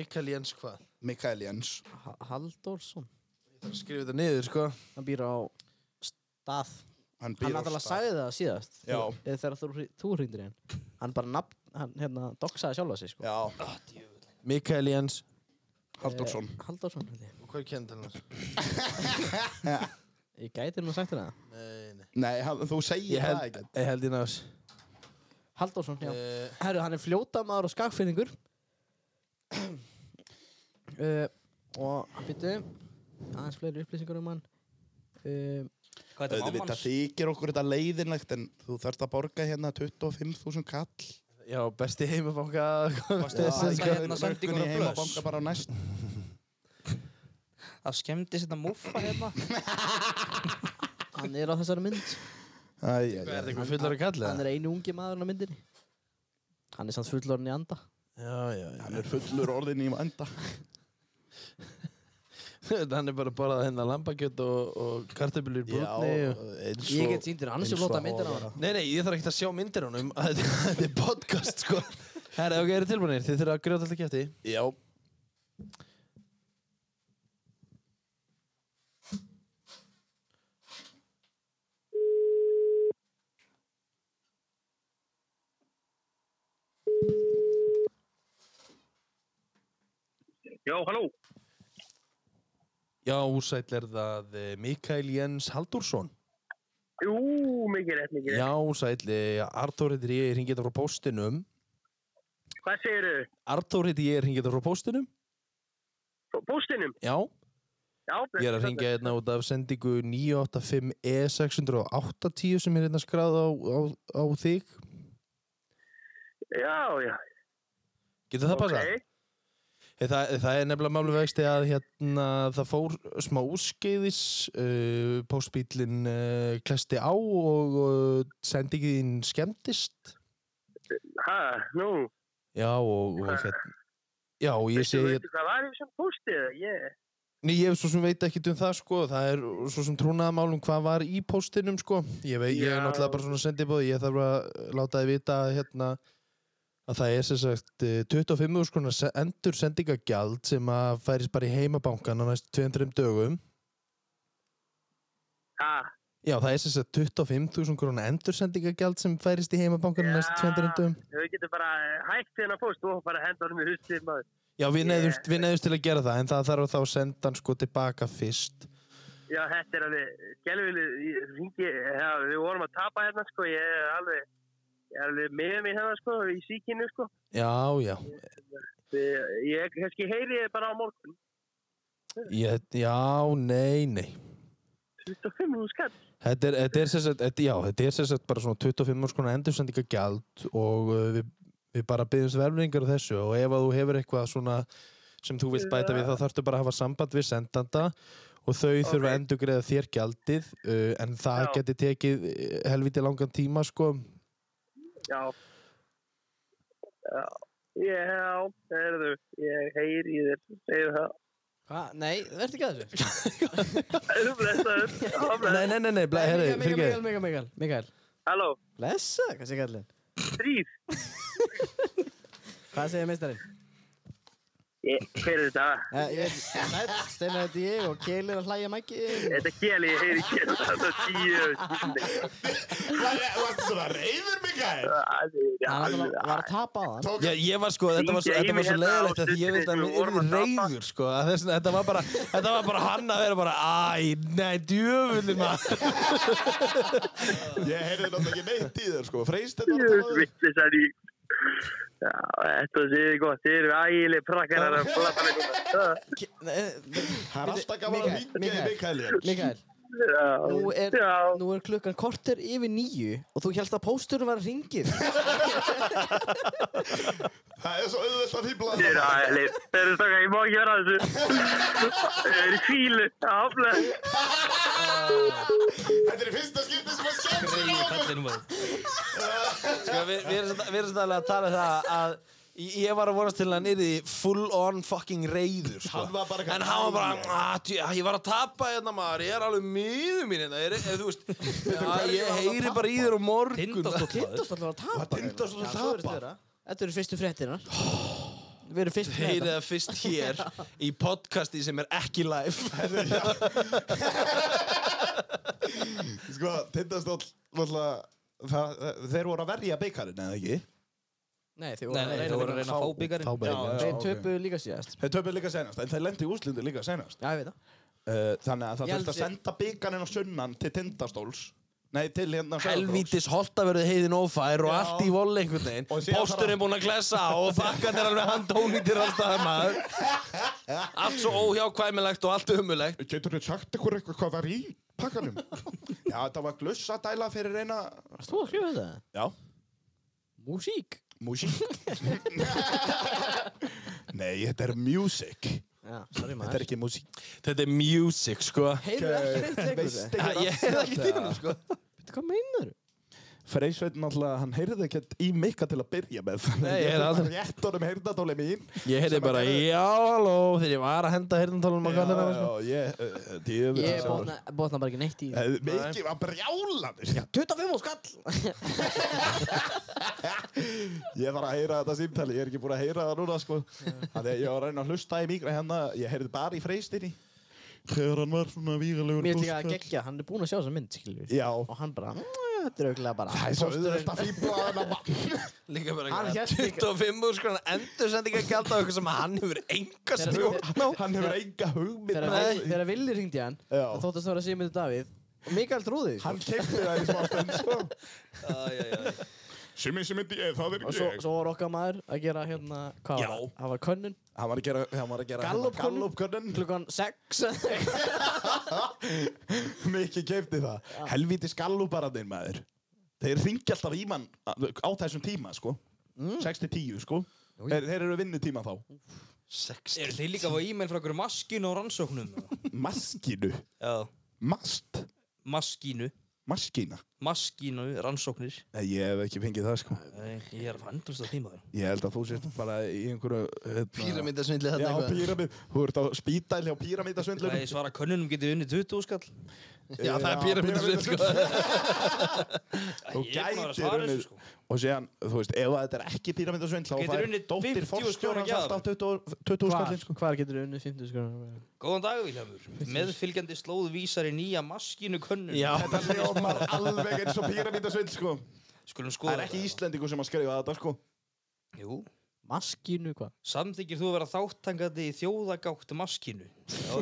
Mikael Jens hvað? Mikael Jens. Ha- Halldórsson Ég þarf að skrifa þetta niður, sko. Hann býr á stað Hann Hann býr á náttúrulega stað. sagði það síðast Já. þegar- eða Þegar þú, hri- þú hringdir í hann Hann bara nafn, hann hérna doksaði sjálfa sig sko Já, Mikael Jens Halldórsson Eh, Halldórsson held ég. Og hvað er kendan hans? Ég gæti nú sagt þér það Nei, nei. Nei, hann, þú segir Ég það held, ekki ég held í náðs. Halldórsson, já Eh. Uh, Herru, hann er fljótamaður og skakfinningur uh, Og býttu aðeins fleiri upplýsingar um hann uh, Hvað er þetta mamma Þetta hans? þykir okkur þetta leiðinlegt en þú þarft að borga hérna 25.000 kall já, besti heimabanka. Varstu að Þessi senda hérna löggunni í sendingur að blöss? heimabanka bara á næst Það skemmdi þetta múffa hérna Hann er á þessari mynd Æ, Er þetta æ, æ. eitthvað fullar að kalla Hann það? er einu ungi maðurinn á myndinni Hann er samt fullorinn í anda Já, já, Hann er fullur orðin í enda já. Hann er bara borðað hérna lambakjött og, og kartöflur í brúnni. Og... eins Ég get sýndir ansi flóta myndir á hann Nei, nei, ég þarf ekki að sjá myndir honum að þetta þetta er podcast, sko. Herra, ok, eru tilbúinir? Þið þurfa að grjóta alltaf kæfti. Já Já, halló. Já, úsæll er það eh, Mikael Jens Haldursson. Jú, mikið rétt, mikið rétt. Já, úsæll, Artur heitir ég, ég hringi þetta frá póstinum. Hvað segirðu? Artur heitir ég, ég hringi þetta frá póstinum. Bústinum? Já, Já, ég er að hringja hérna út af sendingu E 985E680 sem er hérna skráð á, á, á þig. Já, já. Getur það passað? Ok. Hey, Það, það er nefnilega málu vexti að hérna, það fór smá úrskeiðis, uh, postbílinn uh, klesti á og uh, sendingin skemmtist. Ha, nú. Já, og, og hérna, já, og ég Þú segi, veitir hvað var í þessum bústið? Ég... ný, ég svo sem veit ekkert um það, sko, það er svo sem trúnaðamálum hvað var í postinum, sko. Ég veit, ég er Já. náttúrulega bara svona sendibóð, ég þarf að láta þið vita að, hérna, að það er sem sagt eh, 25 úrskona endur sendingagjald sem að færis bara í heimabankan á næstu 2-3 dögum. Ha, Já, það er sem sagt 25.000 krónu endursendingagjald sem færist í heimabankanum næst 200 dögum. þau getur bara hægt hérna búst og bara henda honum í hustið maður. Já, við neyðumst við neyðumst til að gera það, en það þarf þá að senda hann sko tilbaka fyrst. Já, þetta er alveg, gelvileg, ég ringi, já, við vorum að tapa hérna, sko, ég er alveg, ég er alveg með mig hérna, sko, í síkinu, sko. Já, já, Ég, ég kannski heyri ég bara á morgun, ég, já, nei, nei. 25 hún skall. Þetta er, þetta er sem sagt, þetta, já, þetta er sem sagt bara svona 25 úrs konar endursendingagjald og uh, við, við bara byggjumst verfningar á þessu og ef að þú hefur eitthvað svona sem þú vilt bæta við þá þarftu bara að hafa samband við sendanda og þau þurfa að endurgreða þér gjaldið uh, en það Já. geti tekið eh, helviti langan tíma sko. Já. Já. Já, heyrðu, ég heyri í þér, segir það. Hva? Nei, verður ekki að þessu Heyrðu, blessaður. Já, Nei, blessaður. nei, nei, nei, blæ, herri, fyrir Mikael, Mikael, Mikael, Mikael, Mikael Halló, Blessa, hvað segir kallinn? þrýr. Hvað segir meistarinn? Ég- Hver er þetta? Uh, ég veit, Sæll, Steinar heiti ég og Keilir að hlæja mækki Þetta er kjeli, ég heyri kjeli, það er tíu. Hvað er þetta svona reyður, Mikael? Hann var var að tapa á hann Já, ég var sko, þetta var svo, þetta var svo leiðilegt að ég veit að hann yrði reyður sko, að þess, þetta, var bara, þetta var bara hann að vera bara, æ, nei, djöfullin maður. Ég heyrði náttúrulega ekki neitt í þér, sko Freysteinn var að tala við Vittlisar í Já, þetta séu gott, þið eru ægileg prakkarar að flappa mig núna. Ke- nei, eh, Það er Bíddu, alltaf gaman að Mikael, hringja í Mikael Mikael. hér. Mikael, Já, nú er, já, nú er klukkan korter yfir nýju og þú hélst að pósturinn var að ringir Það er svo auðvelt að fýbla þið eru ægileg. Þeir eru stakka, ég má ekki vera að þessu. Þeir eru í fílu, áflag. Þetta er í fyrsta skipti sem að skemmt sér á okkur Kallinn maður Sko, við, við erum samt- við erum sannlega að tala um það að ég- ég var að vonast til að hann yrði full on fucking reyður sko. Hann var bara- en hann var bara "Ah, djú, ég var að tapa hérna maður ég er alveg miður mín hérna ég, er- þú veist, já, ég heyri bara í þér á morgun Tindastótt maður Tindast alltaf að tapa Tindastóll að Já, svo virðist tapa? vera. Þetta eru fyrstu fréttinar Við erum fyrst með heyrið þetta það fyrst hér í podcasti sem er ekki live Sko, tindastóll náttúrulega, það- það- Þeir voru að verja beikarinn, eða ekki? Nei, þau voru Nei, að nei, reyna þú að voru vinna. að reyna að fá byggarinn. Fá bikarinn, Já, já. Þeir ok. töpuðu líka síðast Þeir töfum líka senast, en þeir lendi í úslindu líka senast. Já, ég veit það Uh, þannig að það þurfti Ég að held ég- senda byggarinn á sunnan til tindastóls. Nei, til hérna Sauðárkróks. Helvítis holtaverðu heiðin ófær og Já. allt í voll einhvern veginn Og síðan Pósturinn búinn að klessa og þakkan er alveg handónýtir allstaðar maður Allt svo óhjákvæmilegt og allt umulegt Getur þið sagt ykkur eitthvað hvað var í pakkanum? Já, þetta var glussadæla fyrir eina... Varst þú að skrifa þetta? Já, Músík? músík. Nei, þetta er music. Já, Þetta sorry er maður ekki músík. Þetta er music sko Heyrðu ekki neitt leikur Veist þetta ekki Ég rassið heyrði ekki þetta? tímanum, sko. Hvað meinar þú? Freysveit náttúrulega, hann heyrði ekkert í mikka til að byrja með Nei, ég heyrði aldrei aldrei. Rétt honum heyrðatóli mín Ég heyrði Sem að bara gerði- já halló þegar ég var að henda heyrðantólum að kalla Já, það já, ég, uh, djöfull, Ég sjá. botna, botna bara ekki neitt í Eh, Mikki var brjálanir 25 og skall Ég þarf að heyra þetta símtali, ég er ekki búin að heyra það núna sko Þannig að ég var að reyna að hlusta í mikra hérna Ég heyrði bara í freystinni Þegar hann var svona vígalegur Mér er líka að póstkall. gegja, hann er búinn að sjá þessa mynd, skilur við Já, Og hann bara, "Mm, þetta er auðvitað bara það er svo pósturinn." auðvitað að fýbla hann að Líka bara Hann hélt líka- 25 úr sko endur sendinga gælt á eitthvað sem hann hefur enga Þegar- stjórn á. Hann hefur enga hugmynd Þegar með- Vill- Þegar Villi ringdi í hann Já. Það þóttast að vera Sigmundur Davíð Og Mikael trúði því, sko. Hann kefti það í smá stund sko Æ, æ, æ. Simmi, simmi, ég, það er Og svo, svo var okkar maður að gera hérna Hvað Já. var það? Það var könnun Hann var að gera, hann var að gera Gallupkönnun? Gallupkönnun klukkan 6 Mikið kefti það Helvíti skallubarðin maður Þeir ringi alltaf í mann á á þessum tíma sko 6-10 sko þeir, þeir eru vinnutíma þá Eru þið líka að fá e-mail frá einhverju maskínu og rannsóknum? Maskinu Já. Mast Maskínu. Maskina Maskínu, rannsóknir. Nei, ég hef ekki fengið það sko Nei, Ég er að fara endast að tíma þér. Ég held að þú sért bara í einhverju hérna- Píramindasvindli Já, þarna eitthvað píramid Þú ert á spítæl hjá Það píramidasvindlunum er svara könnunum getið unnið 20 skall. Já það er píramindasvindli sko Þú Ég er búin að vera að gætir svara unnið- þessu sko. Og síðan, þú veist, ef þetta er ekki píramidasvindl þá Getur fær unnið dóttir 50 skóra fórstjórans gjafir. alltaf 20 20 Hvar, skallin sko hvar getur þú unnið sko? 50 skrónur? Góðan dag, Vilhelmur. Meðfylgjandi slóð vísar í nýja maskínu könnun. Já Þetta ljómar alveg eins og píramítasvind sko Skulum Það skoða er ekki þetta. Íslendingu sem að skrifa þetta sko Jú. Maskínu hvað? Samþykir þú að vera þáttangandi í þjóðagátt maskínu? Já.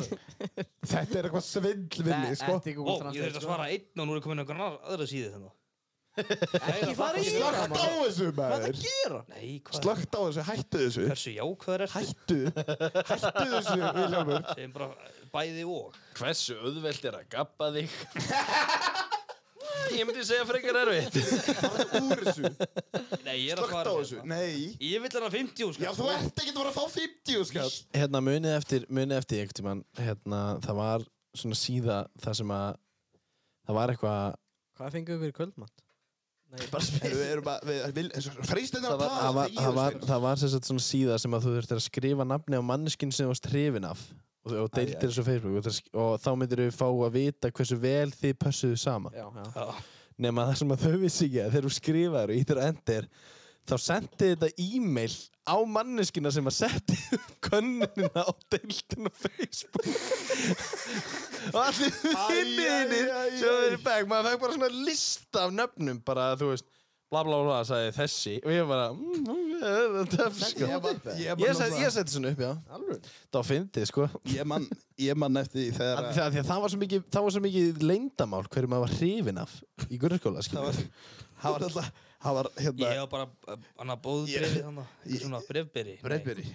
Þetta er eitthvað svindlvinni sko Þetta er Ó, Google ég þurfti að Translate, svara einn og nú er komin einhvern annar- aðra síði þannig. Ekki fara í þetta Slögt á maður. þessu Hvað maður það gera? Nei, hvað? Slögt á þessu, hættu þessu Hversu jákvæðar er þetta? Hættu, hættu þessu Viljámur Segjum bara bæði og. Hversu auðvelt er að gappa þig? ég myndi segja frekar erfitt Farðu úr þessu, Nei, ég er að slögt svara á hérna. þessu Nei Ég vil hana 50 Já, skall. þú ert ekkert að fara að fá sko. 50 skall Hérna munið eftir, munið eftir einhvern tímann hérna, það var svona síða það sem að það var eitthvað Hvað fengu ykkur í kvöldmatt? bara spil Við erum að, við, við, freystendar Það að var, það tala var, það var, þegjum, sko. það var sem sagt svona síða sem að þú þurftir að skrifa nafni á manneskinn sem þú varst hrifin af og, og deildir Æ, æ. þessu á Facebook og, það sk- og þá myndir við fá að vita hversu vel þið pössuðu saman Já, já. Já. nema það sem að þau vissi ekki að þegar þú skrifaður og ítir að endir þá sendi þetta e-mail á manneskina sem að setti upp könnunina á deildin á Facebook og allir vinninir æ, æ, sem æ. þeir í back maður fekk bara svona lista af nöfnum bara þú veist bla bla bla sagði þessi og ég bara mm, mm, eh, töff sko Ég man- ég ég man set- náttúrulega- ég setti svona upp já Alveg? það var fyndið sko Ég man, ég man eftir því þegar það, það, það var svo mikið það var svo mikið leyndamál hverju maður var hrifin af í grunnskóla Það skilur var, það var alltaf, það var hérna Ég hef bara uh, hana bóðbrefi þannig. Svona brefberi. Breifberi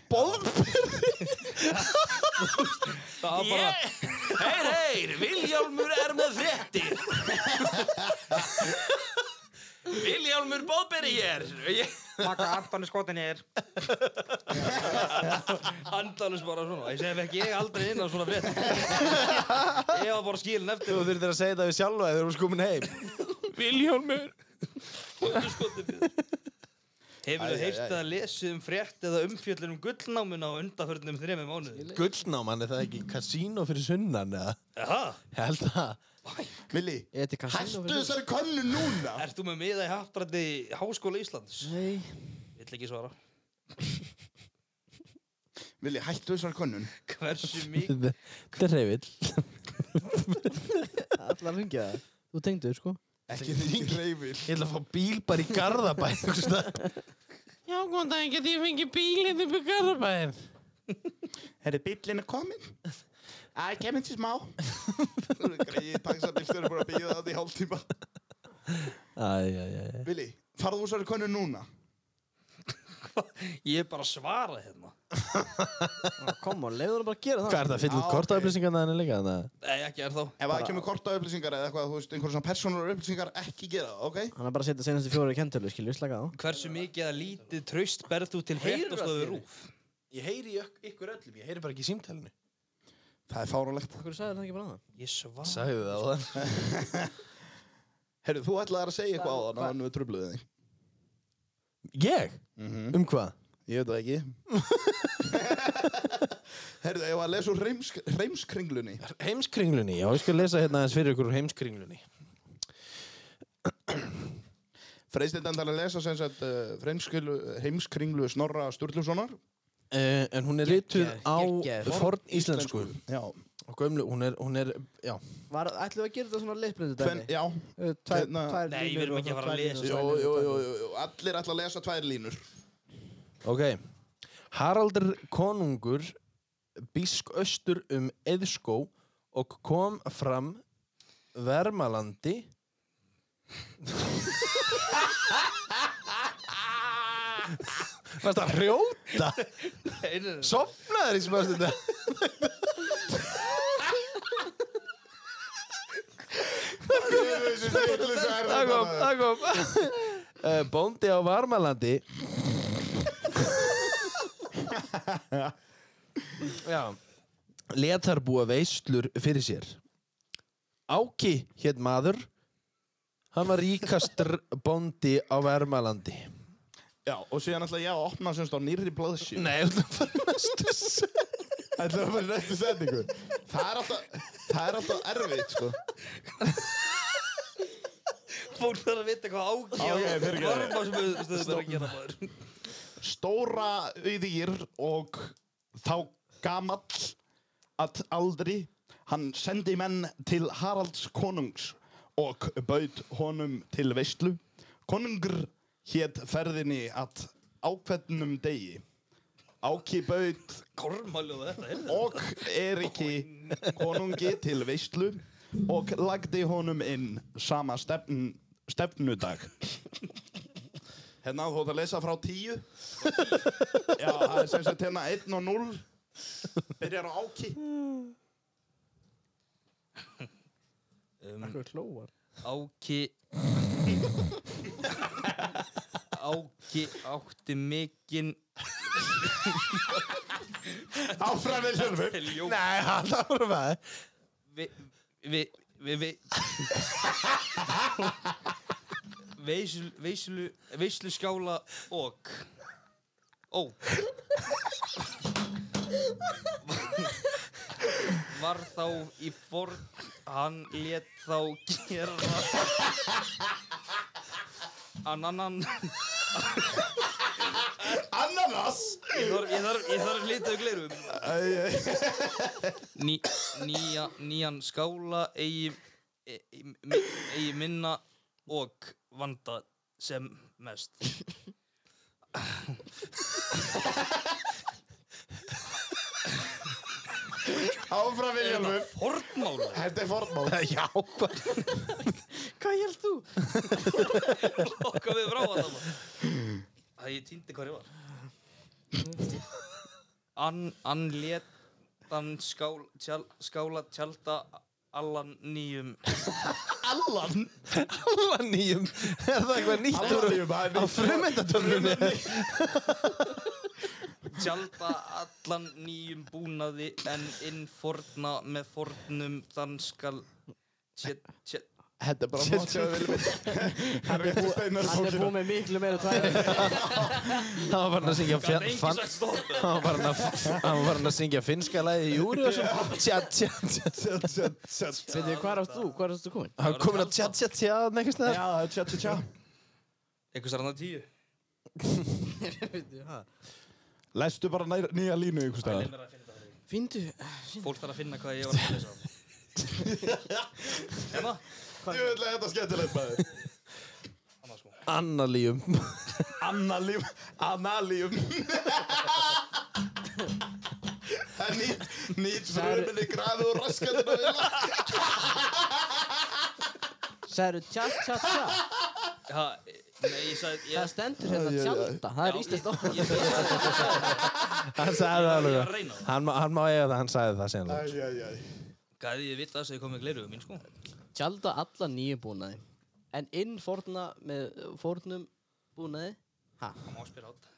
Það var bara... Heyr, heyr, Viljálmur er með fréttir Viljálmur Bóðberi hér Maka Antonus skotin ég er. Antonus bara svona. Ég segi ekki ég aldrei inn á svona frétt. Ég var bara skilin Þú eftir. þurftir að segja það við sjálfa þegar þú erum komin heim Viljálmur Antonus skotin ég er. Æ, Hefur æ, þú heyrt æ. að lesið um frétt eða umfjöllun um gullnámuna á undanförnum þremi mánuði? Gullnáman, er það ekki kasínó fyrir sunnan eða? Jaha, Ég held það Vili, Ég heiti hættu Casino þessari könnu núna ert þú með miða í haftrætti Háskóla Íslands? Nei. Ég ætla ekki svara. Vili, hættu þessari könnun Hversu mikið Þetta er reyfill Allar ringja það. Þú tengdu, sko. Ekki þingi reyfil Ég ætla að fá bíl bara í garðabæ einhvers staðar. Já, góðan dag, geti ég fengið bílinn upp í Garðabæðin? Er þið bíllinn er komin? Æ, kemur til smá. Greið, taxabílstöður er bara að býða það í hálftíma. Æjæjæj Vili, farðu úr svarri konu núna. Ég er bara að svara hérna. Kom on, leiður hann bara að gera Hvað það er það að fylla Já, út ok. kortaupplýsingarna henni líka þannig að Nei, ekki er þá. Ef það kemur korta upplýsingar eða eitthvað, þú veist, einhverjum svona persónulega upplýsingar, ekki gera það, ok? Hann er bara að setja senastu fjóri í kentölu, skilju, slaka á Hversu mikið að lítið tröst berð þú til Heyrir fréttastofu allir? rúf? Ég heyri í ök- ykkur öllum, ég heyri bara ekki í símtælinu Það er fáralegt. Hverju sagði það ekki bara það? Ég svara. Sagði það á þann Herru, þú ætlaði að segja eitthvað á þann, en við trubluðum þig. Ég? Mhm. Um hvað? Ég veit það ekki. Herru, ég var að lesa úr reims, reimskringlunni. Heimskringlunni, já ég skal lesa hérna aðeins fyrir ykkur úr heimskringlunni Freistendandar að lesa sem sagt uh, reimskringlu, reimskringlu Snorra Sturlusonar. uh, En hún er rituð á geggjað. forn íslensku Já. Og gömlu, hún er, hún er, já Var, ætlum við að gera þetta svona leifbrindu Fenn, dæmi? já. Uh, tvær- hérna- tvær Nei, við línur erum og ekki að svona fara að tvær lesa. línur Jú, og tvær jú, línur. jú, jú. Allir ætla að lesa tvær línur. Ok Haraldur konungur bísk austur um Eðskó og kom fram Vermalandi Varst að hrjóta? Sopnaður í smástunda Það kom, Þetta það kom Eh, Bóndi á Varmalandi Já Letar búa veislur fyrir sér Áki hétt maður Hann var ríkastur bóndi á Vermalandi Já, og síðan ætla ég að opna semst á nýrri blöðsjú. Nei, þú fyrir næstu sem Ætla að fara í næstu setningu. Það er alltaf, það er alltaf erfitt, sko. Fólk þarf að vita hvað ákja Ok, fyrirgefðu. varma sem við stöðum að gera maður. Stóra auðýr og þá gamall að aldri hann sendi menn til Haralds konungs og baut honum til veistlu. Konungur hétt ferðinni að ákveðnum degi. Áki baut Kormaljóð þetta, heyrðu. og Eriki konungi til veistlu og lagdi honum inn sama stefn, stefnudag hérna þú ætti að lesa frá tíu já, það er sem sagt hérna 1 og 0 byrjar á áki Um, áki... áki átti mikinn... áfram við sjálfum Ljó... Nei, hann ára maður Vi... Vi... Vi... vi veislu... veislu... veislu skála og... Ó. Var þá í forn... Hann lét þá gera... Annan... ananas Ég þarf, ég þarf, ég þarf lítið glerum. Æ, æ. Ný, nýja, nýjan skála eigi, e- mi- eigi minna og vanda sem mest áfram við sjálfum Hortmála þetta er formál Já, hvað Hvað held þú? Lokka við frá að það Það ég týndi hvað ég var Ann an lét Þann skál, tjál, skála tjálta allan nýjum allan Alla nýjum Er það eitthvað nýtt úr allan á frumendatörnunni? Tjálta allan nýjum búnaði en inn forna með fornum þann skal tjét, tjét, þetta er bara mátt sem við viljum hann er búið steinar Hann er búið með miklu meira tvær línur. Það var bara að syngja Það er fjan- engin fan- sagt stopp Hann var hann að, hann var hann að syngja finnska lagi í júri og svo tja tja tja Set, set, set. Veitu, hvað erst þú? Hvað erst þú komin? Hann komin að tja tja tja nekkist Já, það það er tja, tja, tja. Eitthvað sér hann að tíu Lestu bara nær, nýja línu ykkur staðar. Fyndu Fólk þarf að finna hvað ég var að lesa Hérna Ég vil að þetta skemmtilegt maður. Annars sko Annalíum Annalíum Annalíum Það er nýtt Nýtt fruminni grafi og raskandi að vilja Særu tjá tjá tjá Ha, nei, ég sagði, Það ég, stendur hérna Já, já, já. tjálta Það er Já, íslenskt ég- orð ég- ég- Hann sagði það Ég er að alveg reyna það. Hann, má- hann má eiga það, hann sagði það síðan alveg. Æjæjæj Gæði ég vita þess að ég kom með gleruðu mín, sko. Tjálta alla nýju búnaði En inn forna með fornum búnaði Ha, Það má spyrja átt.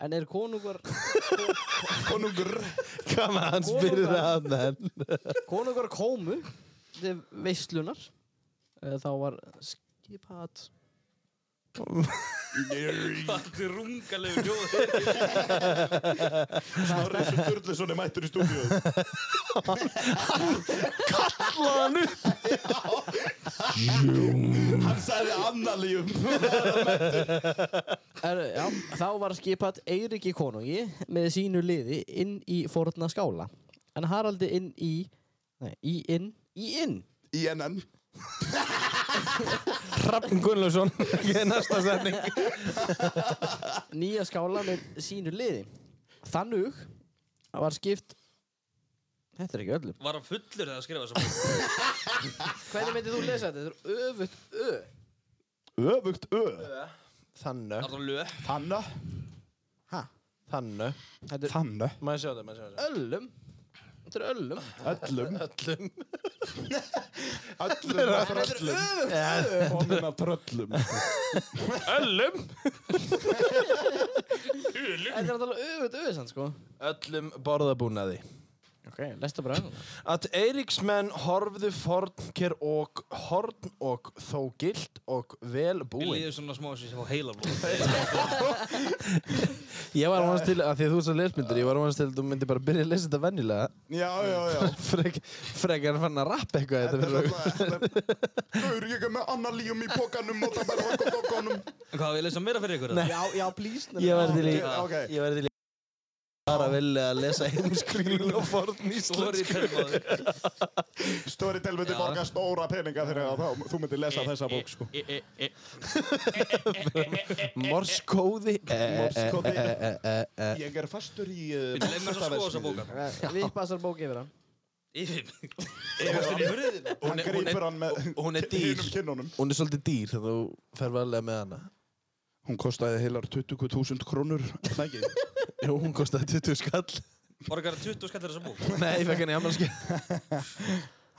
en er konungar Konungur Hvað maður hann spyrir það að menn konungar komu til veislunar Eh, þá var skipat Þetta er rungalegu ljóð. Snorri sem Sturluson er mættur í stúdíu Allan upp Hann sagði Annalíum er, já, þá var skipat Eiriki konungi með sínu liði inn í forna skála en Haraldi inn í nei, í inn, í inn Í NN Hrafn Gunnlaugsson Ég er næsta setning nýja skála með sínu liði þannig var skipt þetta er ekki öllum Var hann fullur þegar að skrifa þessa bók? hvernig veitir þú lesa þetta? þetta er öfutt ö Öfugt Ö Þannu Það var lög. Hanna ha, Þannu þetta er Hanna Maður sjá það, maður sjá það öllum þetta er öllum Öllum Öllum Öllum að tröllum Komin að tröllum Öllum þetta er alltaf öfutt ö sann sko Öllum borðabúnaði ok, lesta bara öllum Að Eiríksmenn horfðu fornker og horn og þó gilt og vel Mér búin líður svona smá sem ég fá heila blóð. Ég var vonast til, að því að þú ert svo lesmyndir, ég var vonast til að þú myndir bara byrja að lesa þetta vennilega Já, já, já Frek, frekar fann að rappa eitthvað Þetta þetta er fyrir augun. náttúrulega Gaur, ég er með Annalíum í pokanum og það bara okkur dokkanum Hvað, við lesum meira fyrir ykkur? eða? já, já, please Ég var til í, Ok, ég var til í bara vilja að lesa heimskringlu og forn íslensk Sorry, telmaður. Störi telviti Já. borga stóra peninga fyrir að þá, þú myndir lesa þessa bók sko. E, e, e, morskóði Morsekóði. eh, Morskóði Ég er fastur í uh, Leif mér svo sko þessa bóka. við passar bók yfir hann Yfir mig. Hann er- hún er- grýpur hann með hún er hin- dýr. hinum kinnunum Hún er svolítið dýr þegar þú fer varlega með hana Hún kostaði heilar 20.000 krónur Nægi Jú, hún kostaði 20 skall Borgar 20 skallir þessa bók. Nei, ég fekk hann í ammalski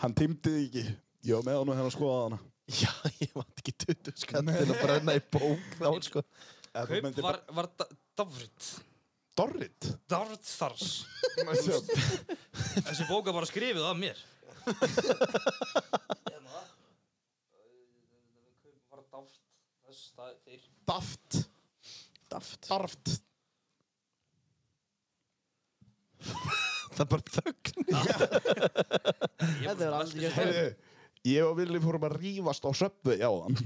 Hann tímdi því ekki Ég var með hann og hérna skoðað hana Já, ég vant ekki 20 skall til að brenna í bók þá sko Ef þú Kaup myndir var, bara- var da, Davrit. Dorrit Davrit Þars. Sjá, Þessi bóka bara skrifið af mér. Hérna. Kaup var Davrit. Þess, það er þeir. Daft Daft Daft Það er bara þögn Ég Þetta er bara- aldrei- Heyrðu, Ég og Vili fórum að rífast á söpfu Já, hann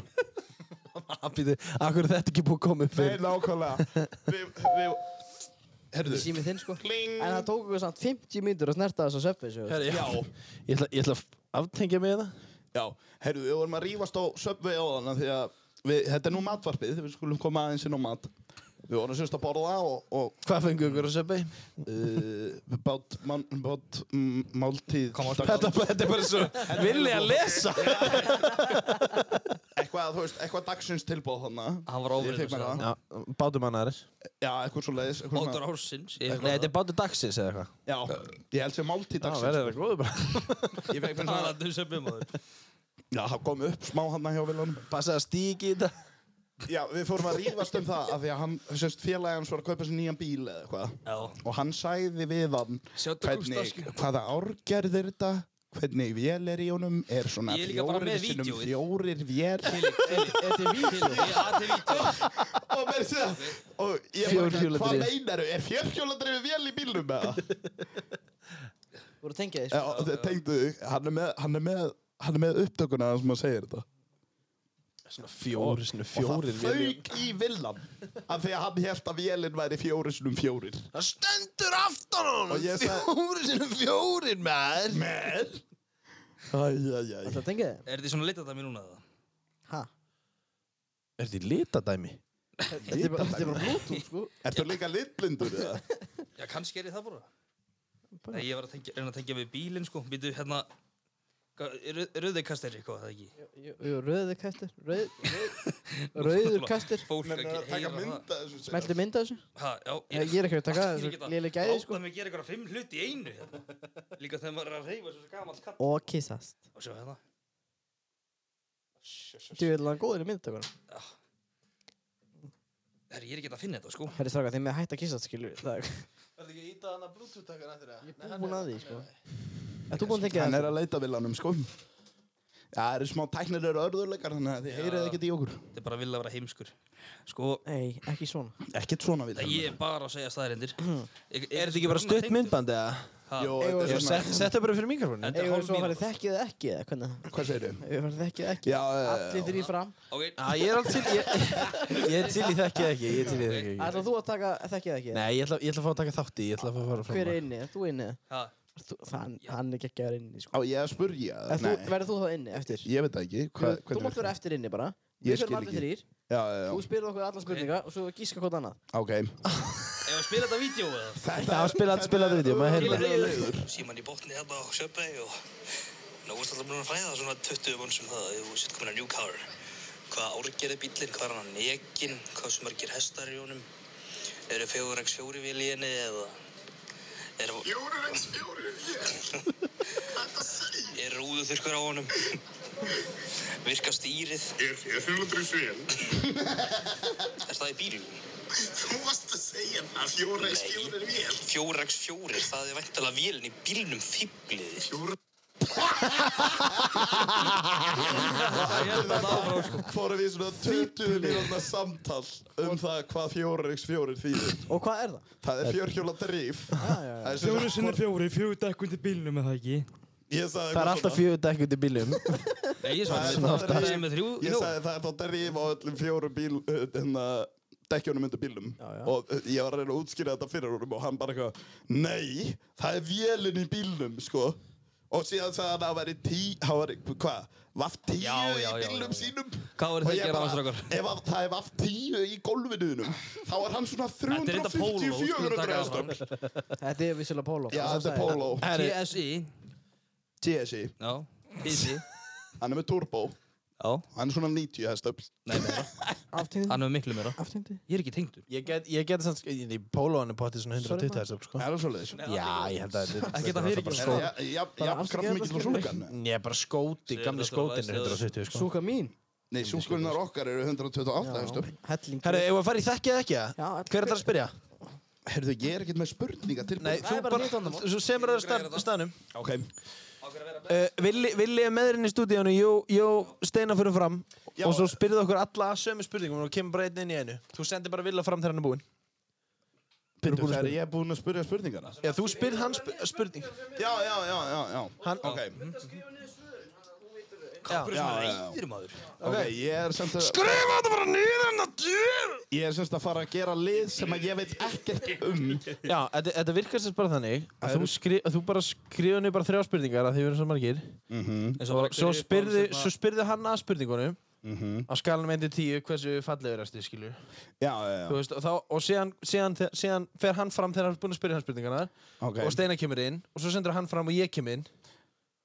Býtu, Akkur er þetta ekki búið að koma upp Nei, fyrir nákvæmlega Við, við Herðu símið þinn sko en það tók okkur samt 50 mínútur að snerta þess að söppi Herri, já. Ég ætla, ég ætla að aftengja mig það. Já, heyrðu, við vorum að rífast á söpvei á þannig því að við, þetta er nú matvarpið, við skulum koma aðeins inn á mat. Við vorum semst að borða og, og Hvað fengu ykkur að söpja í? uh, bát, man, bát, mm, máltíð, Þetta, þetta er bara svo villi að lesa. eitthvað, þú veist, eitthvað dagsins tilbóð þannig. Hann var Ég fekk mér það. ofriðin. Já, bátum hann aðeins. Já, eitthvað svo leiðis. Bátur ársins. Ég- Nei, þetta er bátur dagsins eða eitthvað. Já, ég held sem máltíð Já, dagsins. verður það góður bara. Ég fekk mér svona, Talandi um söpum maður. já, það kom upp smá hann hjá Viljónum. Passa að stíki í þetta. Já, við fórum að rífast um það af því að hann, semst félagi hans var að kaupa sér nýjan bíl eða eitthvað. Já. og hann sæði við hann Sjáðu hvernig, Gústafsson. hvaða árgerðir þetta hvernig vél er í honum er svona Ég er líka bara fjórir með sinnum vídeóið. fjórir vél Þetta er vítjó. Þetta er vítjó. og, með þess að- og ég bara, Fjórhjóladrif. hvað meinaru, er fjörhjóladrifið vél í bílnum með það? þú voru að tengja því Já, sko og þeir tengdu þig, hann er með, hann er með hann er með upptökuna þar sem hann segir þetta Svona fjóri, svona og fjóri það villi. fauk í villan af því að hann held að vélinn væri fjórir sinnum fjórir Það stendur aftan á Og ég sagði- Fjóri sinum fjórin, maður. með æjæjæj Það tengja þið? Er þið svona litið að mér núna það? Ha? Er þetta í litadæmi? Þetta er bara- þetta er bara Bluetooth, sko. Ertu líka litblindur eða? Já, kannski er ég það bara. Nei, ég var að tengja, reyna að tengja við bílinn, sko. Býtu, hérna, rauðikastir eitthvað, það ekki? Rauður kastur, rauð, rauð, rauður kastur. Fólk Menn að er að taka heyra mynda þessu Smeltu mynd af þessu. Ha, já, Ég, ég er ekki að taka Allt í einu þessu geta- léleg gæði, sko. Láta mig gera eitthvað fimm hluti í einu, hérna. Líka þegar maður er að reyfa þessu gamall katt. Og kissast. Og sjá, hérna. Þú er alveg góðin í myndtökunum. Herri, ég er ekki að finna þetta, sko. Herri stráka, þið með hægt að kissast, skilur. Það er Verður ekki að íta hana Bluetooth-takan eftir það? Ég er búinn að því, sko. Ert þú búinn að tengja Hann það? er að leita villanum sko Það eru smá tæknilegur örðurleikar þannig að þið Já. heyrið ekkert í okkur Þetta er bara að vilja að vera heimskur. Sko, Nei, ekki svona. Ekkert svona það villan ég er bara að segja staðarindir. Er Er þetta ekki bara stutt myndband eða? Jó, Eigum þetta er við Ég svona set- Settu bara fyrir mikrofónin Þetta er Eða hálf svo mínúta. farið þekkið eða ekki, eða hvernig? Hvað segir þau? Eða farið þekkið eða ekki. Já, Allir þrý fram. Ok, Já, ég er alveg til ég, ég er til í þekkið ekki Ég er til í þekkið ekki Ætlar þú að taka þekkið eða ekki? Nei, ég ætla, ég ætla að fá að taka þátt í Ég ætla að fá að fara fram Hver á- er inni? Ert þú inni? ha, Ert þú- Hann, hann er geggjaður inni, á sko. ég að spurja Ert þú- Verður þú þá inni eftir? Ég veit það ekki Þú Hva, þú mátt vera eftir inni bara. Ég Við skil fyrir allir ekki. þrýr. Já, já, Þú já spyrir okkur alla spurninga og svo gíska hvort annað. Ok ef að spila þetta vídeo eða? Já, spila þetta spila þetta vídeo, maður heyrði það síman í botni hérna á Sjöpvei og nú erst alltaf búin að fræða svona 20 mann sem það, þú sitt komin að New Car hvað árgerði bílinn, hvað er hann að nekin hvað sem margir hestar í honum eru fjögur x fjóri vil í henni eða er, Fjórir eins fjórir er rúðu þurkur á honum virka stýrið Er þér fjórir svél? er það í bílinn? Þú varst að segja það Fjórir eins Nei. fjórir vél fjóri x fjóri, það er væntalega vélinn í bílnum fýbliði Ég held að það áfram, sko. Fórum við svona 20 mínúna samtal um það hvað fjórir x fjórir þýðir Og hvað er það? Það er fjórhjóla drif já, já. Fjórir sinni fjórir Það er alltaf fjórir, fjögur dekk út í bílum Nei, ég Það er svarði svona þetta. Það alltaf- er með þrjú, Ég jú. sagði það er þá drif á öllum fjórum bíl uh, hérna, dekkjónum undir bílum já. og uh, ég var að reyna að útskýra þetta fyrir honum og hann bara eitthvað, nei, það er vélinn í bílnum, sko og síðan sagði hann að það væri tí, hann væri, hvað, vaff tíu Já, já, já, í bílnum já, já. sínum Hvað Og voru þið að ég gera bara, aðeins okkar? Ef að, það er vaff tíu í golfinuðinum þá er hann svona Þetta er þetta póló, 350-400 skulum taka það hestöfl. fram. Þetta er vissilega Pólo. Já, þetta er póló TSI, TSI, já, TSI, hann er með turbo já, hann er svona 90 hestöfl nei, meira. Aftindi. Hann er með miklu meira. Aftindi. Ég er ekki tengdur. Ég get, ég get samt Í pólóan er pottið svona 120 þess sko. Það er svoleiðis Já, ég held að þetta Það geta fyrir ekki. skóti Já, já, Bara já, afsakið kraftmikill og þetta, skilur. súlgan Ég er bara skóti, gamli skótin er 170 sko. Súka mín. Nei, sjúkvöldnar okkar eru 128 hestur. Helling. Herru, eigum við að fara í þekkið eða ekki eða? Já, allir- Hver er það að spyrja? Herðu, ég er ekkert með spurninga til Nei, þú er bara þitt vandamál. bara, þú semur að staðnum Ok. Uh, Villi, Villi er meðurinn í stúdíónu, Jó, Jó Steina fyrir fram Já. og svo spyrðu okkur alla sömu spurningum og kemur bara einn inn í einu. Þú sendir bara Villa fram þegar hann er búinn. Pindu, þegar ég er búinn að spyrja spurningana. Já, þú spyrð hann sp spurning. Já, já, já, já, já. Hann- ok. Mhm. Hvað er Já, svona já, já. reyðir maður? Ok, ég er semst að... Skrifa þetta bara niður en að djur! Ég er semst að fara að gera lið sem að ég veit ekkert um. Já, þetta, þetta virkar sér bara þannig að þú, skri, að þú bara skrifa niður bara þrjá spurningar að því við erum svo margir. Mhm, Og svo spyrðu, hérna. svo spyrðu hann að spurningunum á skalanum 1 til 10 hversu fallegur erstu, skilur. mhm. Já, já, Þú já. veist, og, þá, og síðan, síðan, þe- síðan fer hann fram þegar hann er búinn að spyrja hann spurningarna Ok. og Steina kemur inn og svo sendur hann fram og ég kem inn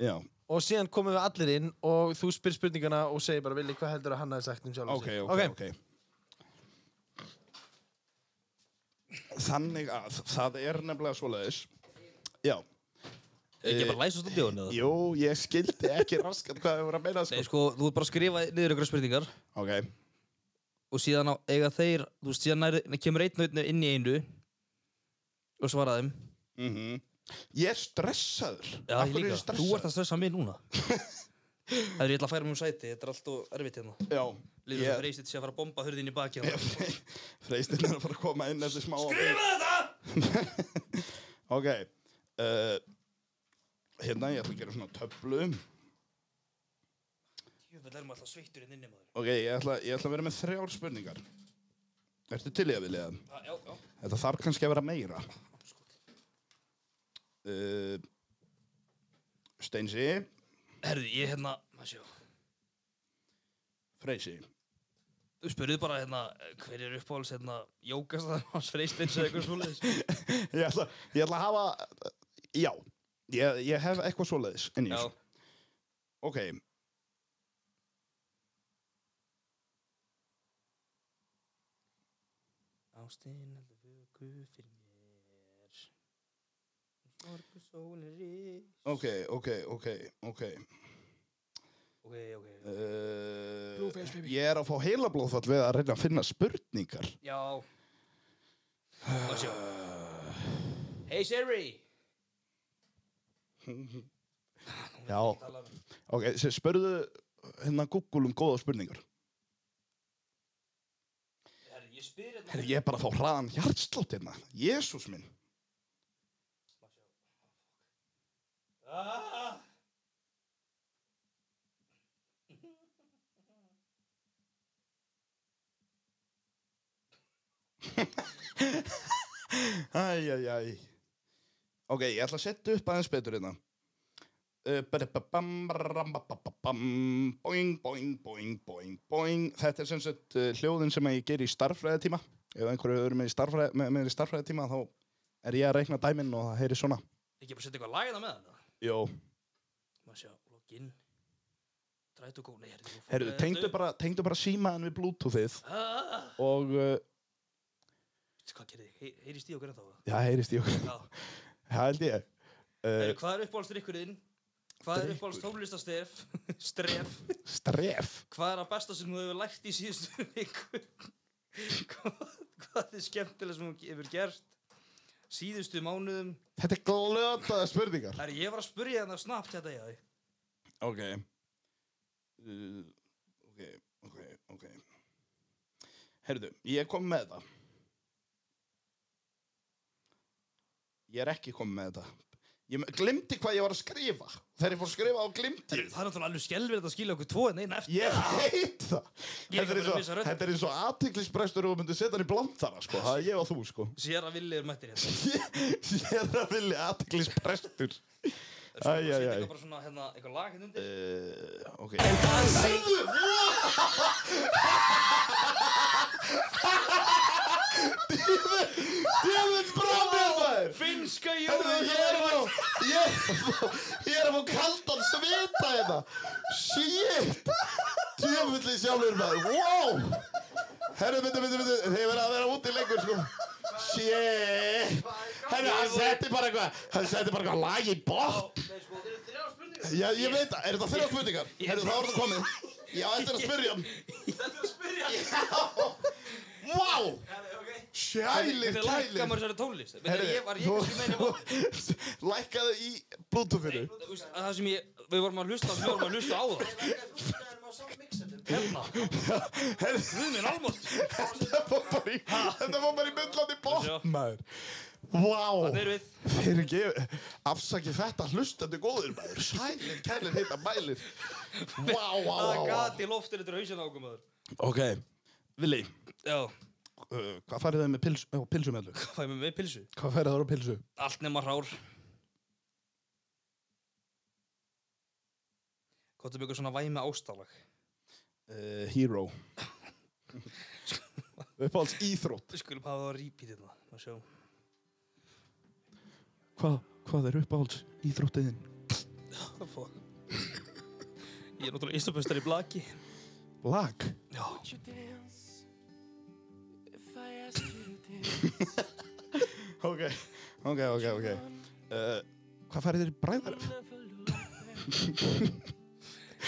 Já, og síðan komum við allir inn og þú spyr spurningana og segir bara Vili, hvað heldur að hann hafi sagt um sjálf ok, ok, ok. Þannig að það er nefnilega svoleiðis. Já. Er ekki bara að læsa stúdíónu eða? Jú, ég skildi ekki raskat hvað þau voru að meina, Nei, sko. sko, þú ert bara að skrifa niður ykkur spurningar Ok. og síðan á, eiga þeir, þú veist, síðan næri, kemur einn og einn inn í einu og svara þeim. Mhm. Ég er stressaður. Já, Af ég hverju er líka. ég Þú stressaður? ert að stressa mig núna. Það er ég ætla að færa mig um sæti, þetta er allt og erfitt hérna. Já. Líður yeah. Ég, sem reysið sé að fara að bomba hurðin í baki hérna. freistinn er að fara að koma inn eftir smá... Skrifa þetta! ok. Uh, hérna, ég ætla að gera svona töflu. Jöfnveld er maður alltaf sveittur inn inni maður. Ok, ég ætla, ég ætla að vera með þrjár spurningar. Ertu til ég að vilja það? Já, já, já. Þetta þarf kannski að vera meira. Uh, Steinsi, Herðu, ég hérna, maður sjá. Freysi. spurðu bara hérna, hver er uppáhalds hérna, jókastar hans freistins eða eitthvað svoleiðis. Ég ætla, ég ætla að hafa, já, ég, ég hef eitthvað svoleiðis. inn í Já, þessu. Ok. Ástinn heldur vöku fyrir mér. Sorgu sólin rís. Ok, ok, ok, ok. Ok, ok. Uh, ég er að fá heilablóðfall við að reyna að finna spurningar. Já. Og sjá. Hey Siri! Já. Ok, sem spurðu hérna Google um góða spurningar. Herri, ég spyr hérna. Herri, Ég er bara að fá hraðan hjartslátt hérna. Jésús minn. Ah! Æj, æj, æj. Ok, ég ætla að setja upp aðeins betur hérna. Uh, ba-da-ba-bam, ba-ra-bam-ba-ba-bam, Boing, boing, boing, boing, boing. Þetta er sem sagt uh, hljóðin sem að ég ger í starffræðatíma. Ef einhverju eru með í starffræ- með- með í starffræðatíma þá er ég að reikna dæminn og það heyri svona. Ekki bara setja eitthvað lagina með hann? Jó. Má sjá, login. Drætu góð, nei, herri. Eh, þú- Herru, tengdu bara, tengdu bara símaðan við Bluetoothið Ah! og uh, Veistu Hvað gerði? Hey, heyrist í okkur en þá? það heyrist í okkur. Já. Það held ég. Uh, Heru, hvað er uppáhaldsdrykkurinn? Hvað er Drykkur? uppáhalds tónlistastef? Stref? stref. Hvað er að besta sem þú hefur lært í síðustu viku? hvað, hvað er skemmtilega sem þú hefur gert? Síðustu mánuðum? Þetta er glötaða spurningar. Herri, ég var að hérna spurja þarna snabbt þetta ég þig. Ok uh, Ok, ok, ok Herðu, ég kom með það Ég er ekki kom með þetta Ég me- glemdi hvað ég var að skrifa Þegar ég fór að skrifa á glemdi Herri, ég það er náttúrulega alveg skelverið að skilja okkur tvo en eina eftir. Ég veit það Ég er Þetta er eins ekki búin að og- missa röddina. þetta er eins og aðtiklisbrestur og myndu setja hann í blandara sko. Það er ég og þú sko Sér að villið er mættir hérna. Ég, ég er að vilja aðtiklisbrestur Æ, æ, Það er sko að setja æ. eitthvað bara svona, hérna, eitthvað lag hérna undir. uh, Ok Djöfn bráðið maður Finnska Herðu, jólum! ég er að fá ég er að fá- Ég er að fá kaldan svita hérna Shit Djöfnli sjálfur maður Wow Herru, myndi, myndi, myndi Þeir verða að vera úti lengur sko Shit Herru, hann setti bara eitthvað Hann setti bara eitthvað lag í bótt Nei, sko, þeir eru þrjá spurningar. Já, ég veit það Er þetta þrjá spurningar? Herru, þá er þetta komið Já, þetta er að spyrja hann Þetta er að spurja. Wow Herri, ok. Kælir, Þetta er kælir lækka maður þessari tónlist. Herri, ég var ég ekki sem meina Lækkaðu í bluetoothinu Þú veist, að það sem ég, við vorum að hlusta, við vorum að hlusta á það. Hérna, Herri, við minn almátt. Þetta var bara í Þetta var bara í myndlandi Sjá. bótt maður Vá Þannig erum við. Fyrir ekki Afsaki þetta hlustandi góður maður Sælir, kælir, heita mælir Vá, vá, Það vá, vá gati loftir þetta hausinn á okkur maður. Ok Vili Já, uh, Hvað færið þau með pils, á pilsu með allu? hvað er með með pilsu? Hvað færið þau á pilsu? Allt nema hrár. Hvað er með eitthvað svona væmi ástálag? Uh, hero Uppáhalds íþrótt Við skulum hafa það að repeat þetta. Má sjá. Hvað, hvað er uppáhalds íþróttiðin? Hvað fók? Ég er náttúrulega Íslapöstar í blaki. Lag Já. Ok, ok, ok, ok uh, Hvað færið þér í bræðaröf?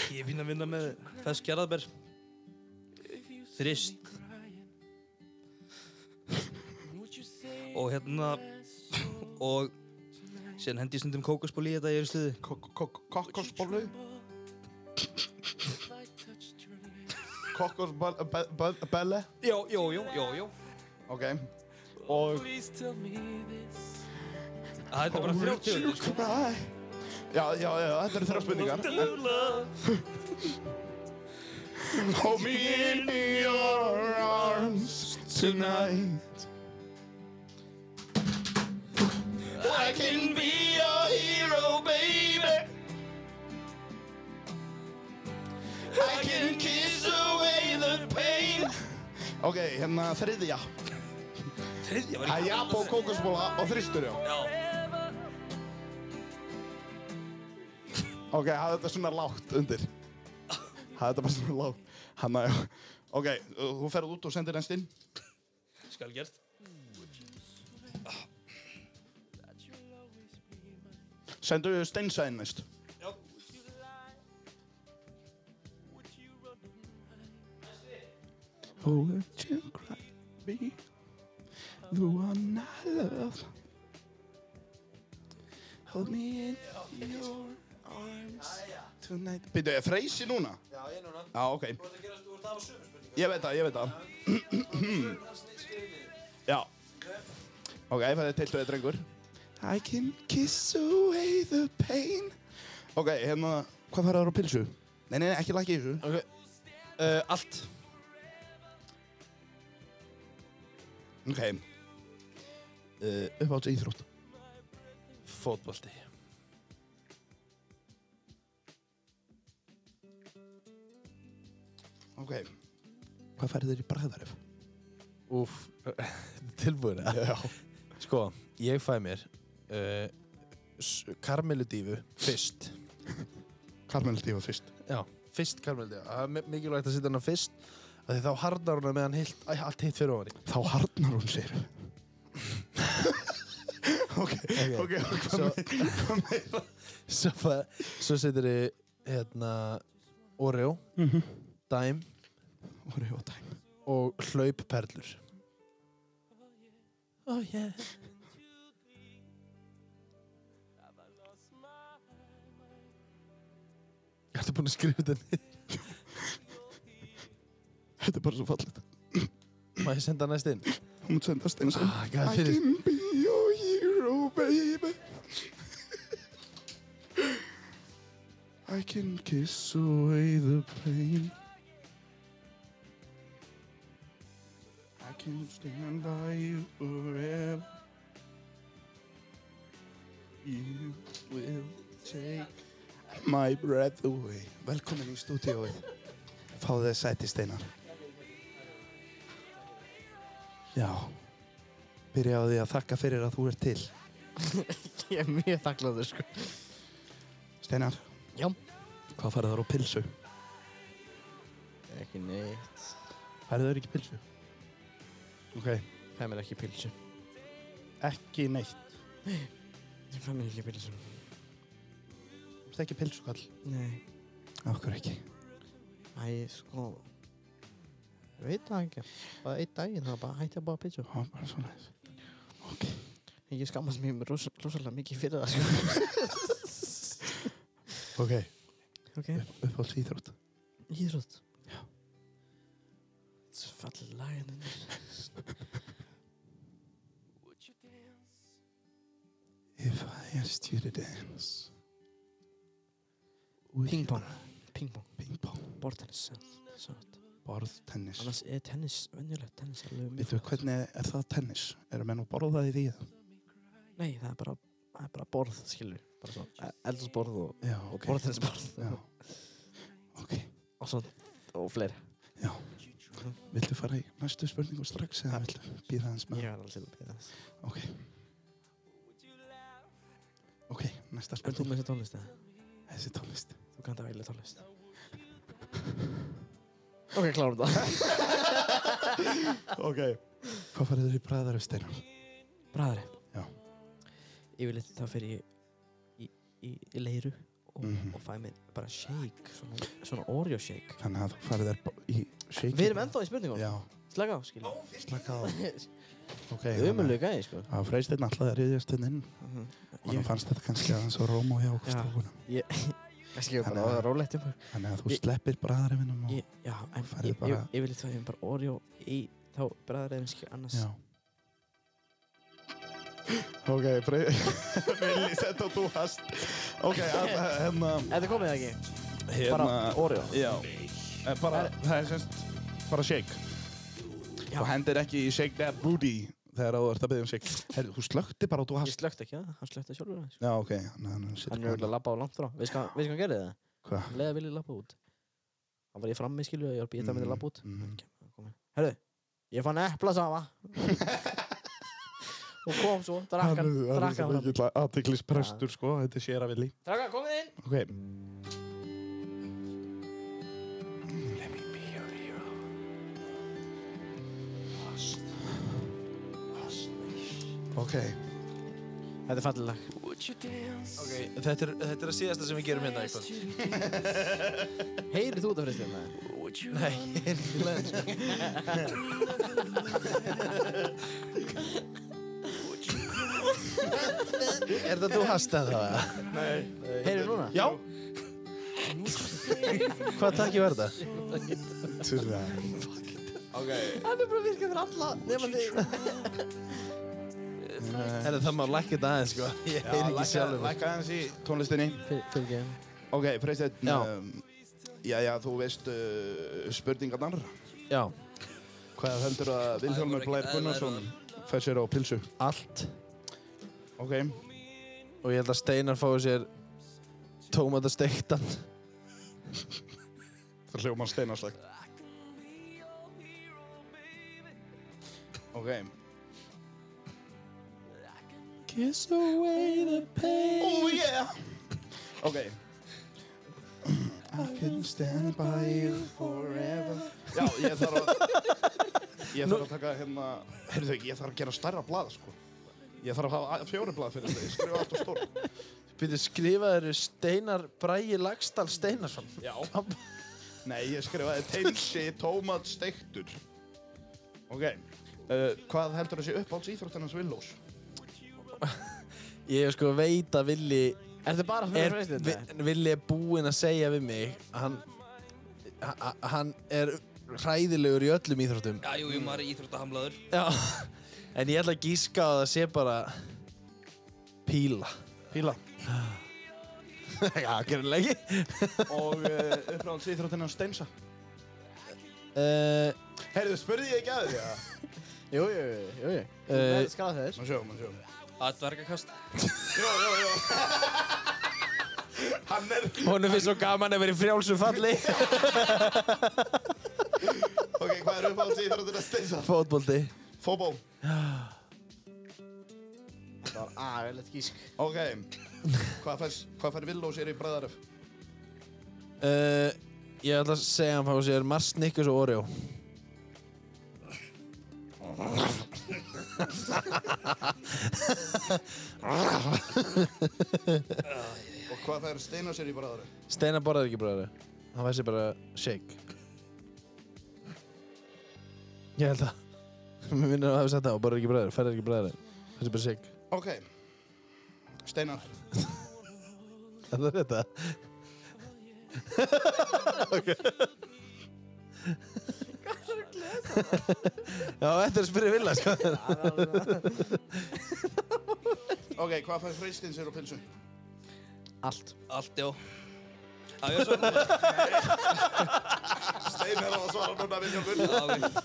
Ég er fín að vinna með Fess Gerðarberg. Þrist. Og hérna, og síðan hendi ég stundum kókosból í þetta í eru stuði. Kokkosbollu Kokkosbelle Jó, jó, jó, jó, jó. Ok Og Það er bara 30 hundur, sko. Cry. Já, já, já, þetta eru þrjá spurningar Hold me in your arms tonight I can be your hero, baby I can kiss away the pain Ok, hérna þriðja. Þriðja var Það er í Jabo, kókosbóla og þristur, já. Já, Ok, hafa þetta svona lágt undir. Hafa þetta bara svona lágt. Hanna, já. Ok, þú ferð út og sendir næst inn. skal gert Sendu Steinsa inn næst. Já Oh, let you cry, be the one I love. Hold me in your arms tonight. Býttu, er Freysi núna? Já, ég núna Já, ok. Þú ert að gera, þú ert að hafa sömu spurningar Ég veit það, ég veit það. Sömu hans skrifið Já. Ok, það er tiltöðið drengur. I can kiss away the pain. Ok, hérna, hvað færðar á pilsu? Nei, nei, nei, ekki lakið í þessu. Ok, uh, allt Ok. Uh, Uppáhalds íþrótt. Fótbolti Ok. Hvað færðir í bræðaröf? Úf, tilbúin eða? Já. Sko, ég fæ mér uh, Karmeludífu fyrst Karmel Dífa fyrst. Já, fyrst karmeludífu Það er mi- mikilvægt að setja hana fyrst af Því þá harðar hana meðan heilt, æ, allt heitt fyrir ofan í Þá harnar hún sér Ok, ok, hvað Svo- með Hvað með Svo, fæ- svo setur ég hérna Oreo, Mhm. dæm Oreo dæmi og hlaupperlur Oh yeah Ertu búinn að skrifa þetta niður? Þetta er bara svo fallit Má ég senda næst inn? Hún mútt sendast eins og Ah, gæði fyrir can be your hero, baby I can kiss away the pain I can stand by you forever You will take my breath away Velkomin í stúdíóið Fáðu þér sæti steinar Já Byrja á því að þakka fyrir að þú ert til Ég er mjög þakkláður sko Steinar, Já hvað farið þar á pilsu? Ekki neitt Færið þar ekki pilsu? Ok, Fæ mér ekki pilsu ekki neitt Ég fæ mér ekki pilsu Þú ert ekki pilsukall Nei Okkur ekki Æ, sko Ég veit það ekki Bara einn daginn þá bara hætti að búa pilsu Það var bara svona þess Ok, Ég skammast mér rosa- rosalega mikið fyrir það sko ok Ok Uppáhalds íþrótt Íþrótt Já Þetta er fallið lagin hennar If I asked you to dance Pingpong Pingpong Pingpong Bortennis Sátt Borð, tennis Annars er tennis Venjulegt tennis er alveg Veitu, hvernig er það tennis? Eru menn að borða það í því? Nei, það er bara Það er bara borð, skilur E, Bara svona Eldsborð og Já, okay. Borðtennisborð Já, ok Og svona Og fleiri Já. Viltu fara í næstu spurningu strax eða viltu býða hans með? Ég er alveg til að byrja þess Ok. Ok, næsta Er þú spurning. með þessi tónlist eða? Þessi tónlist. Þú kannt að velja tónlist Ok, klárum það Ok. Hvað farið þér í bræðar af steinar? Bræðari Já. Yfirleitt þá fyrir ég í, í, í leiru og, Mhm. og fæ mér bara shake Svona, svona Oreo shake Þannig að þú farið þér bo- í shake. Við erum ennþá í spurningum Já, Slaka á, skilja slaka á. Ok. Ömulega gæði, sko Mhm. Það freist einn alltaf að riðjast inn inn. Og Ég- hann fannst þetta kannski aðeins og róm og hjá okkur Já. stofunum. Kannski ég Þannig bara að- rólegt um Þannig að þú Ég- sleppir bræðarinnum og... Ég- Já, en Færðu ég- bara- ég- yfirleitt fæ ég mér bara Oreo í þá bræðarefin, skilja annars Já. Ok, freist. Villi, þetta og þú hast. Ok, að- hérna... Er það komið eða ekki? Hérna... Bara Oreo Já, en bara, það er semst bara shake Já. og hendir ekki í shake that booty þegar þú ert að byggja um shake Herru, þú slökkti bara og þú Ég hast slökkt ekki það, hann slökkt það sjálfur það, sko. Já, ok, hann hann situr Hann er auðvitað að labba á langt frá Veist hvað veist hvað hann gerði það? Hvað? Mm-hmm. Leða viljið labba út Hann var í frammi, skilju, ég var býtað með það labba út Mm, mm. Herru, ég fann epla sama og kom svo, drakk hann drakk hann mikill aðtiklisprestur, sko. Þetta er sér að villi. drakk hann, komið inn Ok. Ok. þetta er fallileg Ok, þetta er, þetta er að síðasta sem við gerum hérna í kvöld. heyrið þú þetta fristum með Nei, ég er ekki leðin. Er þetta þú hastað það? heyrið núna Já. Hvað takk ég verða? Turra. hann er bara virkað fyrir alla nema þig Er það má lækka þetta aðeins, sko? Ég er ekki sjálfur. Lækka aðeins í tónlistinni. fyrir Ok, Freysteinn. Já. Um, já, já, þú veist uh, spurningarnar. Já, Hvað heldur að Vilhjálmur Blær Gunnarsson fær sér á pilsu? allt. Ok. Og ég held að Steinar fái sér tómatasteiktan. Það hljóma steinarslægt. Ok. Kiss away the pain. Oh yeah! Ok. I can stand by you forever. Já, ég þarf að... Ég þarf að taka hérna... Heyrðu ekki, ég þarf að gera stærra blað, sko. Ég þarf að hafa a- fjóri blað fyrir þetta. Ég skrifa allt á stór. Býttu skrifaður Steinar Bræi Lagstall Steinarsson. Já. Nei, ég skrifaði teinsi tómat steiktur. Ok. Uh, hvað heldur þessi uppáhalds íþróttinans Willós? Ég sko veit að Villi er þetta bara er, fyrir fristum vi, Villi er búinn að segja við mig að hann, a- a- hann er hræðilegur í öllum íþróttum Já, jú, jú, maður er íþróttahamlaður. Já. en ég ætla að gíska að það sé bara píla Píla. Já, gerðilegi Og uh, uppáhalds íþróttinans Steinsa. uh, Heyrðu, spurði ég ekki að því að... jú, jú, jú, jú Eh, þetta skrað þess Má sjá, má sjá. Atverkakast. Jó, jó, jó. Hann er... Honum finnst svo gaman að vera í frjálsum falli Ok, hvað er uppáhalds íþróttinans Steinsa? Fótbolti Fóbó. það var aðeins gísk Ok. Hvað fær, hvað fær Willós er í bræðaröf? uh, Ég ætla að segja að hann fá sér Mars, Nikkus og Oreo Og hvað fær Steinar sér í bræðaröf? Steinar borðar ekki bræður Hann fæði sér bara shake Ég held að Mér minnir að hafa sagt það og borðar ekki bræður Fæðir ekki bræður Fæði sér bara shake Ok. Steinar. Er það þetta? ok Já, þetta er að spyrja vilja sko. Ok, hvað fær Freysteinn sér á pilsu? allt Allt, já. Já, ég er svo núna. Steinar á að svara núna Vilhjálmur. Já, ok.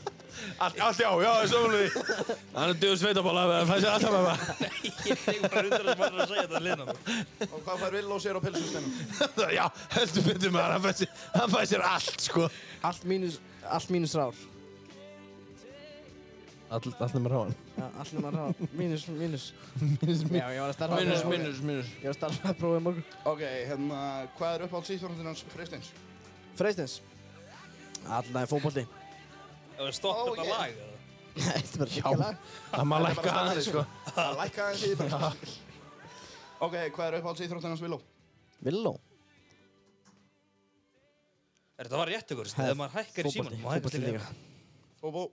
Allt já, já, það er svolítið Hann er döð sveitabóla Það fæði sér alltaf með það Ég tegur bara hundra sem maður er að segja þetta liðna. Og hvað fær Vill og sér á pilsustenum? Já, heldur betur maður Hann fæði sér, hann fær sér allt sko. allt mínus allt mínus rár Allt, allt nema ráðan Já, allt nema rár mínus mínus mínus já, ég var að starfa Minus, minus, minus. ég var að starfa að prófa í morgun Ok, hérna, hvað er uppáhalds íþróttin hans Freysteins? Freistins Allnaði fótbolti Það er stopp Ó, þetta yeah. lag. eða? Þetta var ríkilega Það má lækka aðeins sko. Það lækka aðeins í þetta. Ok, hvað er uppáhalds íþróttin hans Villó? Villó Er þetta var rétt ykkur? Ef maður hækkar í símanum, má hækkar Fótbolti líka. líka Fóbó.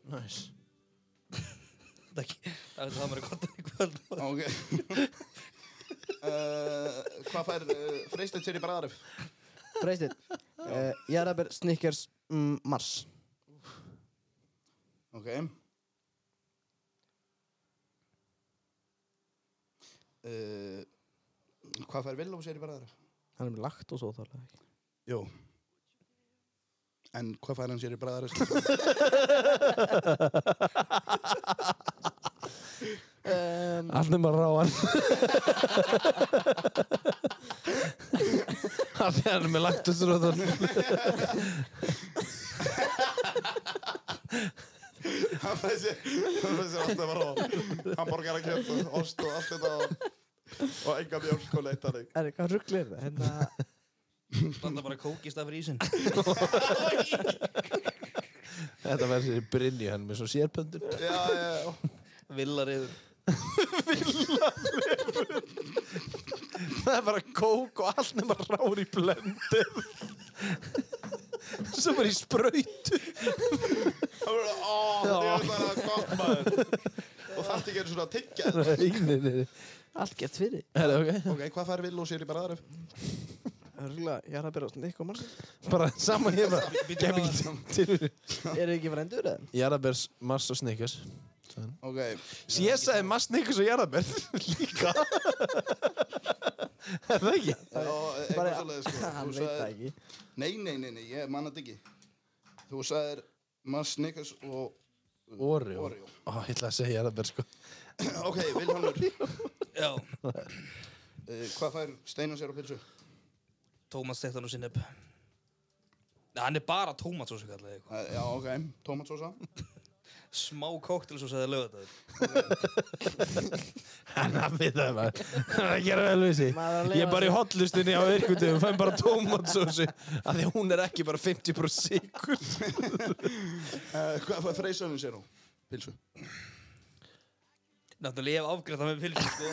Það er ekki- það er það maður er gott að kvöld. Ok. Uh, hvað fær uh, Freysteinn sér í bræðaröf? Freistin uh, Jarabir Snickers mm, Mars Ok. Uh, hvað fær Villó sér í bræðaröf? Hann er með lagt og svo þarlega ekki Jó. En hvað fær hann sér í bræðaröf? um, Allt nema ráðan Allt er hann með laktusróðan Hann þessi þessi alltaf var á hambúrgara kjöt og ost og allt þetta og, og enga mjölk og leitt þannig Er, hvað rugglir það? Hérna, Þetta bara kókist af rísin. Þetta verður sér Brynju hann með svo sérpöndun já, já, já. Villariður. Það er bara kók og allt nema rár í blendu Svo bara í spröytu það var ó, það var það gott maður og þarf ekki einu svona að tyggja þetta. Nei, nei, nei allt gett fyrir. Herra, ok ok, hvað fær vill og sér í bara aðruf? Örgulega, ég er að byrja á svona ykkur mann. Bara saman hér bara Býttu Gæm hvað ekki var til- til Er ekki frendur eða? Jarabers, Mars og Snickers ok, Svo ég sagði Mars, Snickers og Jarabers Líka Er það ekki? já, eitthvað Bara- svolítið sko. Þú Hann veit það sagðir- ekki. nei, nei, nei, nei, ég manna þetta ekki þú sagðir Mars Snickers og Oreo Oreo Ó, ég ætla að segja Jarabers sko ok, Vilhelmur, Já, uh, hvað fær Steinar sér á pilsu? Tómas tekta nú sinni upp. Nei, hann er bara Tómas svo sem kallaði eitthvað. Uh, já, ok, tómatsósa Smá kóktel svo segði lögðaður. Hann að við það maður Hann er að gera vel við sig Maður er að leyfa Ég er bara í sér. hotlustinni á virkutum Fæm bara tómatsósu Af því að hún er ekki bara 50% sikur uh, hvað fær Freysanum sér á pilsu? Náttúrulega ég hef afgrætt það með pilsum, sko.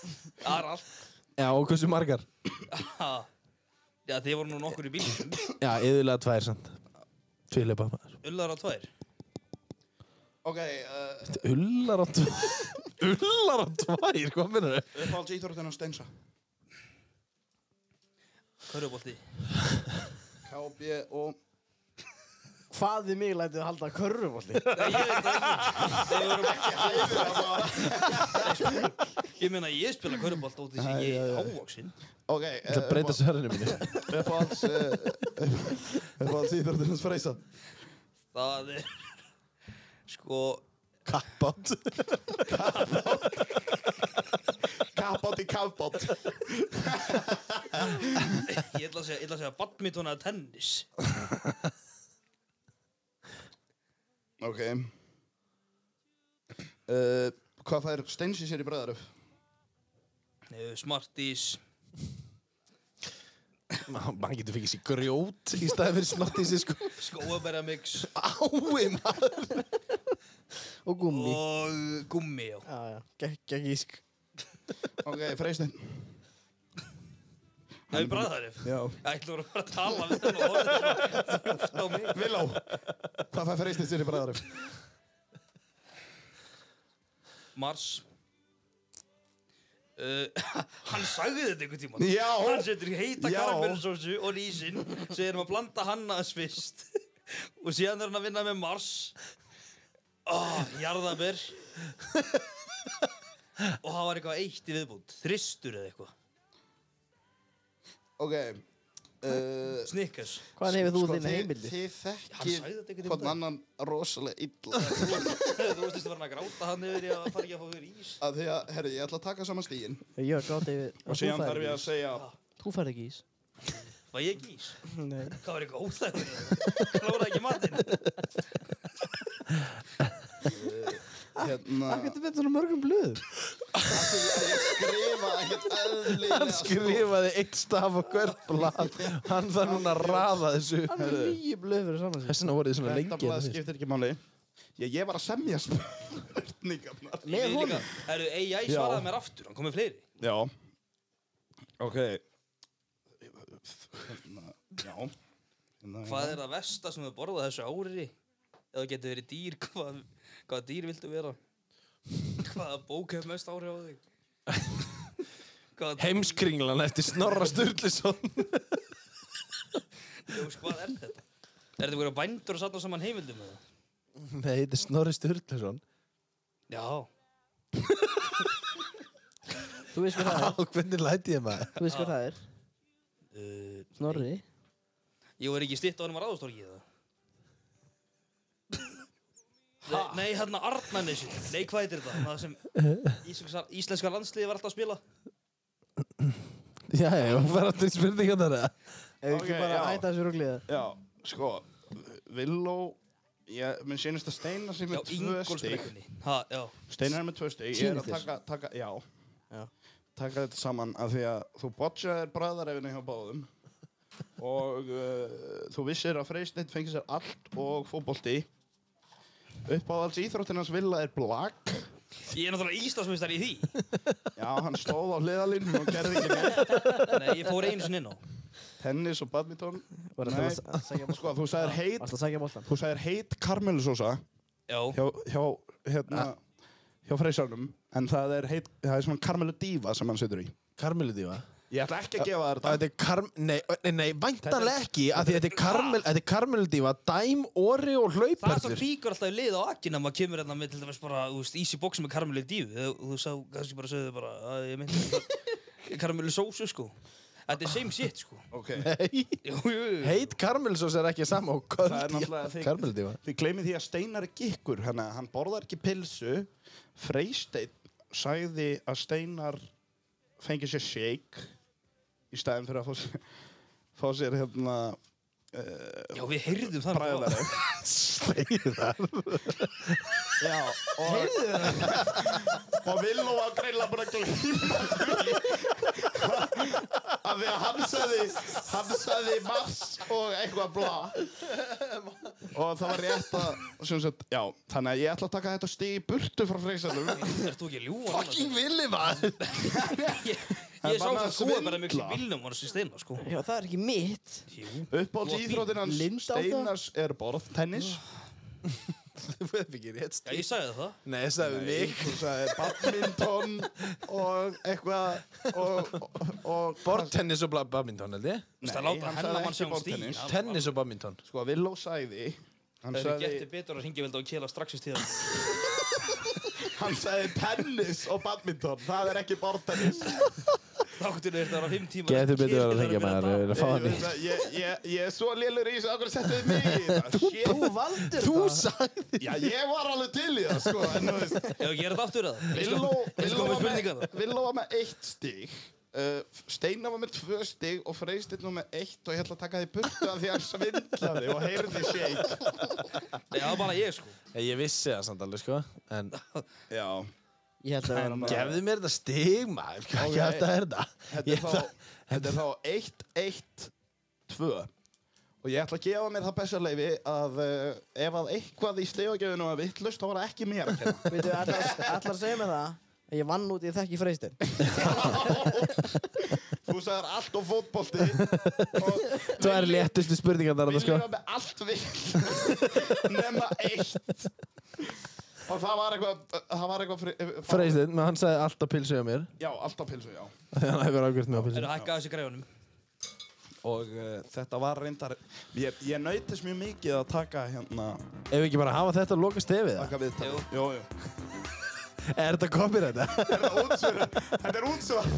Það er allt. Já, og hversu margar? Ha. Já, þið voru nú nokkur í bílum. Já, yfirlega tvær samt Tvíleipa maður Ullar á tvær. Ok, uh, Ullar á tvær Ullar á tvær, hvað minnur þau? uppáhalds íþróttina Steinsa Körfubolti. KB og Hvað þið mig lætið að halda körfubólti? Nei, ég veit það ekki. Þeir voru ekki Ég meina, ég spila körfubolt óti sem ég er ávaksinn. Ok, Það uh, breyta sverðinu minni uppáhalds uh, uppáhalds íþróttina Freysa Það er... Sko, Kappátt Kappátt í kappátt ég ætla að segja, ég ætla að segja badminton eða tennis. Ok uh, Hvað fær Steinsi sér í bræðaröf? Eh, Smarties. Man getur fengið sér grjót í staði fyrir snottið sér sko skóabæramix Ái maður Og gummi. og gummi já. Já, já. Gekk ísk. Ok, Freystein Það er bræðarif. Já Ég ætla að bara að tala við hann og horfa svona þjóft á mig. Villó Hvað fær Freystein sér í bræðaröf? Mars. Uh, hann sagði þetta einhvern tíma. Já Hann setur heita Já. karamellsósu og rísin sem erum að blanda hann aðeins fyrst. og síðan er hann að vinna með Mars. Oh, jarðaber. og það var eitthvað eitt í viðbúnd. Þristur eða eitthvað. Ok uh, Snickers. Hvaðan hefur þú sko, þín þið- heimildi? Þið Hann sagði þetta þekkið einhvern hvort tímann. annan rosalega illa Þú veist að var hann að gráta hann yfir í að fara ekki að fá fyrir ís. að því að, herri, ég ætla að taka saman stígin Ég var grátt yfir. að og þú síðan færð þarf ég ekki að ís. segja Þú færði ekki ís. Var ég ekki ís? Nei. Það var eitthvað óþægilegt. Kláraði ekki matinn. hérna Hvað getur við svona mörgum blöðum? ég skrifa ekkert eðlilega Hann skrifaði eitt staf á hvert blad Hann þarf núna að raða þessu Hann er nýju blöð fyrir saman sér. Þess vegna voruð þið svona þetta lengi blað hérna fyrst. skiptir ekki máli ég, ég var að semja spurningarnar Með Ég líka- honum? Herru, AI svaraði mér aftur. Hann komið fleiri. já ok hérna, já hérna, Hvað er það versta sem þú borðað þessu ári? Eða getur verið dýr, hvað, hvaða dýr viltu vera? Hvaða bók hefur mest ári á þig? Hvaða, Heimskringlan eftir Snorra Sturluson ljós, hvað er þetta? Er þetta einhverja bændur að satna saman heimildum með það? Nei, þetta er Snorri Sturluson Já. Þú veist hvað það er. Á, hvernig læti ég maður? Þú veist hvað það er. Uh, Snorri. ég var ekki stitt á hann um að ráðastorki eða? Nei, nei, hérna Arnarnesi. Nei, hvað heitir þetta? Það sem íslenska, íslenska landsliði var alltaf að spila. Já, já, hún fær aftur í spurningan þar Ef við Ok, ekki bara já. hætta þessu rugliða. já, sko Villó ég, minn sínist að Steinar sem Já, er tvö stík. Ingolsbrekkunni. Ha, já. Steinar er með tvö stík. Ég er Sýnist að taka, taka, já. Já. Taka þetta saman af því að þú botjaðir bræðarefinu hjá báðum og uh, þú vissir að Freysteinn fengi sér allt og fótbolti. Uppáðals íþróttin hans villa er blakk. Ég er náttúrulega Íslandsmeistar í því. Já, hann stóð á hliðalinn og gerði ekki neitt. Nei, ég fór einu sinni inn á. Tennis og badminton. Var Nei. þetta að sækja Sko, þú sagðir heit, Varst að sækja boltan? þú sagðir heit karmelusósa. Já. hjá, hjá, hérna, hjá freysarnum en það er, heit, það er svona karmelu dífa sem hann setur í Karmeludífa ég ætla ekki að gefa þér Þetta er karm... Nei, nei, nei væntalega ekki af því þetta er karmel... Þetta er karmeludífa Dæm, ori og Það er svo hlaupallur píkur alltaf í lið á akkin að maður kemur hérna með til dæmis bara, þú veist, Easy Box með karmelu dífu. Þú, þú sá, kannski bara sögðu bara, að ég myndi karmelu sósu, sko. Þetta er same shit, sko. okay. Jú, jú, jú. Heit karmelusós er ekki sama og köld Það er náttúrulega þig- Karmeludífa þið gleymið því að Steinar er gikkur hann, hann borðar ekki pilsu Freysteinn sagði að Steinar fengi sér shake í staðin fyrir að fá sér, fá sér hérna Já, við heyrðum það. bræðaref Já, og, og Villó var greinlega búin að glýma af því að hann sagði hann sagði mars og eitthvað bla og það var rétt að sem sagt, já, þannig að ég ætla að taka þetta stig í burtu frá freysalum Er þú ekki að ljúa? Fucking Villi maður Ég, Það er ég sá bara það að skoða bara mjög svindla. bílnum var þessi steina, sko. Já, það er ekki mitt. Jú. uppáhalds íþróttin hans Linda á það? Steinars er borðtennis Þú veit ekki rétt Já, ég sagði það. Nei, sagði mig þú sagði badminton og eitthvað og, og, og Bortennis og bla- badminton, held ég Þú veist, að Nei, láta hann hennar sagði mann ekki sjá um stíl. borðtennis. Hann- Tennis og badminton sko Villó sagði hann Það eru sagði getið betur að ringja velda og kela strax í stíðan. Hann sagði tennis og badminton, það er ekki bortennis. Þáttur er þetta að vera fimm tíma. Getur betur að hengja maður Fá hann í Ég, ég, ég, ég er svo lélur í þessu, okkur settu þið mig í þetta. Shit. Þú valdur Þú það. sagði Já, ég var alveg til í það, sko. En þú veist, Já, ég er þetta aftur að það. Ég Villó skal- Ég Villó skal með var spurninga með- það. Villó var með eitt stig. Uh, Steinar var með tvö stig og Freysteinn var með eitt og ég ætla að taka því burtu af því að hann svindlaði og heyrði shake. Nei, það var bara ég, sko. Ég vissi það samt alveg, sko En Já, Ég held að það var bara... gefðu mér þetta stig, maður Hvað Ok. okay. þetta er þetta? þetta er þá, þetta er þá eitt, eitt, tvö. Og ég ætla að gefa mér það besta leifi að uh, ef að eitthvað í stegagjöfinu var vittlust, þá var það ekki mér að kenna. Veitu, allar, allar segja mér það. að Ég vann út í þekki freystin. Þú sagðar allt og fótbolti og Þú er léttustu spurningar þar við sko lýra með allt vill nema eitt og það var eitthvað það var eitthvað fri, eh, það- Freysteinn, menn hann sagði alltaf pilsu hjá mér já, allt á pilsu, já Þannig að hann hefur afgjört mig á Það pilsu er að hækka þessi greifunum. og uh, þetta var reyndar ég, ég nautist mjög mikið að taka hérna Ef við ekki bara hafa þetta að loka stefið það? taka við Jú. jú, jú Er þetta copyright það? þetta er útsvör þetta er útsvör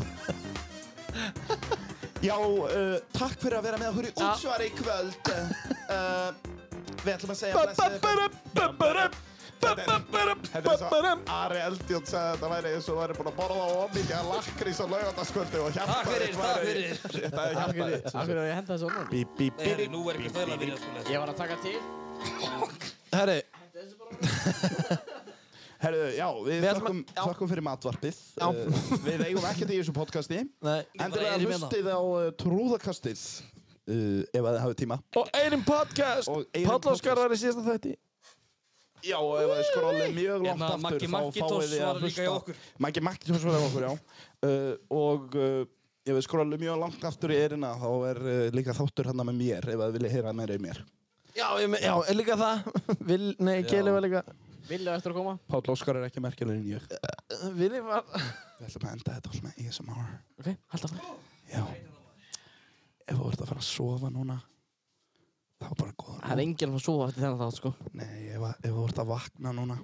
já, uh, takk fyrir að vera með okkur í útsvar í kvöld uh, við ætlum að segja blessuð- Þetta er svo, Ari Eldjón sagði að þetta væri eins og væri búin að borða of mikið að lakrís á laugardaskvöldi og hjarta Takk fyrir, takk fyrir. Þetta er hjarta þitt. Akkur er ég að henda þessu á núna? Bí, bí, bí. Nei, nú er ekki fæðla að byrja, sko. Ég var að taka til. Herri, Herru, já, við Við ætlum þakkum, að- já. þakkum fyrir matvarpið. Uh, við eigum ekkert í þessu podcasti. nei Endilega eyrum hérna. hlustið á uh, trúðakastið uh, ef að þið hafið tíma. Og einum podcast Og einum Páll Óskar podcast. var í síðasta þætti Já, og ef þið skrólið mjög langt Hérna, aftur Maggi Maggitos var líka hjá okkur. Maggi Maggitos var hjá okkur, já. Uh, og uh, ef þið skrólið mjög langt aftur í erina þá er uh, líka þáttur hann með mér ef þið viljið heyra meira í mér. Já, ég me- já, er líka það Vil, Nei, Keli var líka Vilja eftir að koma. Páll Óskar er ekki merkilegur en ég. Vili var Við ætlum að enda þetta á svona ASMR. Ok, held að fara. Já. Ef þú ert að fara að sofa núna, þá bara góða. Það er enginn að fara að sofa eftir þennan þátt, sko. Nei, ef, ef þú ert að vakna núna,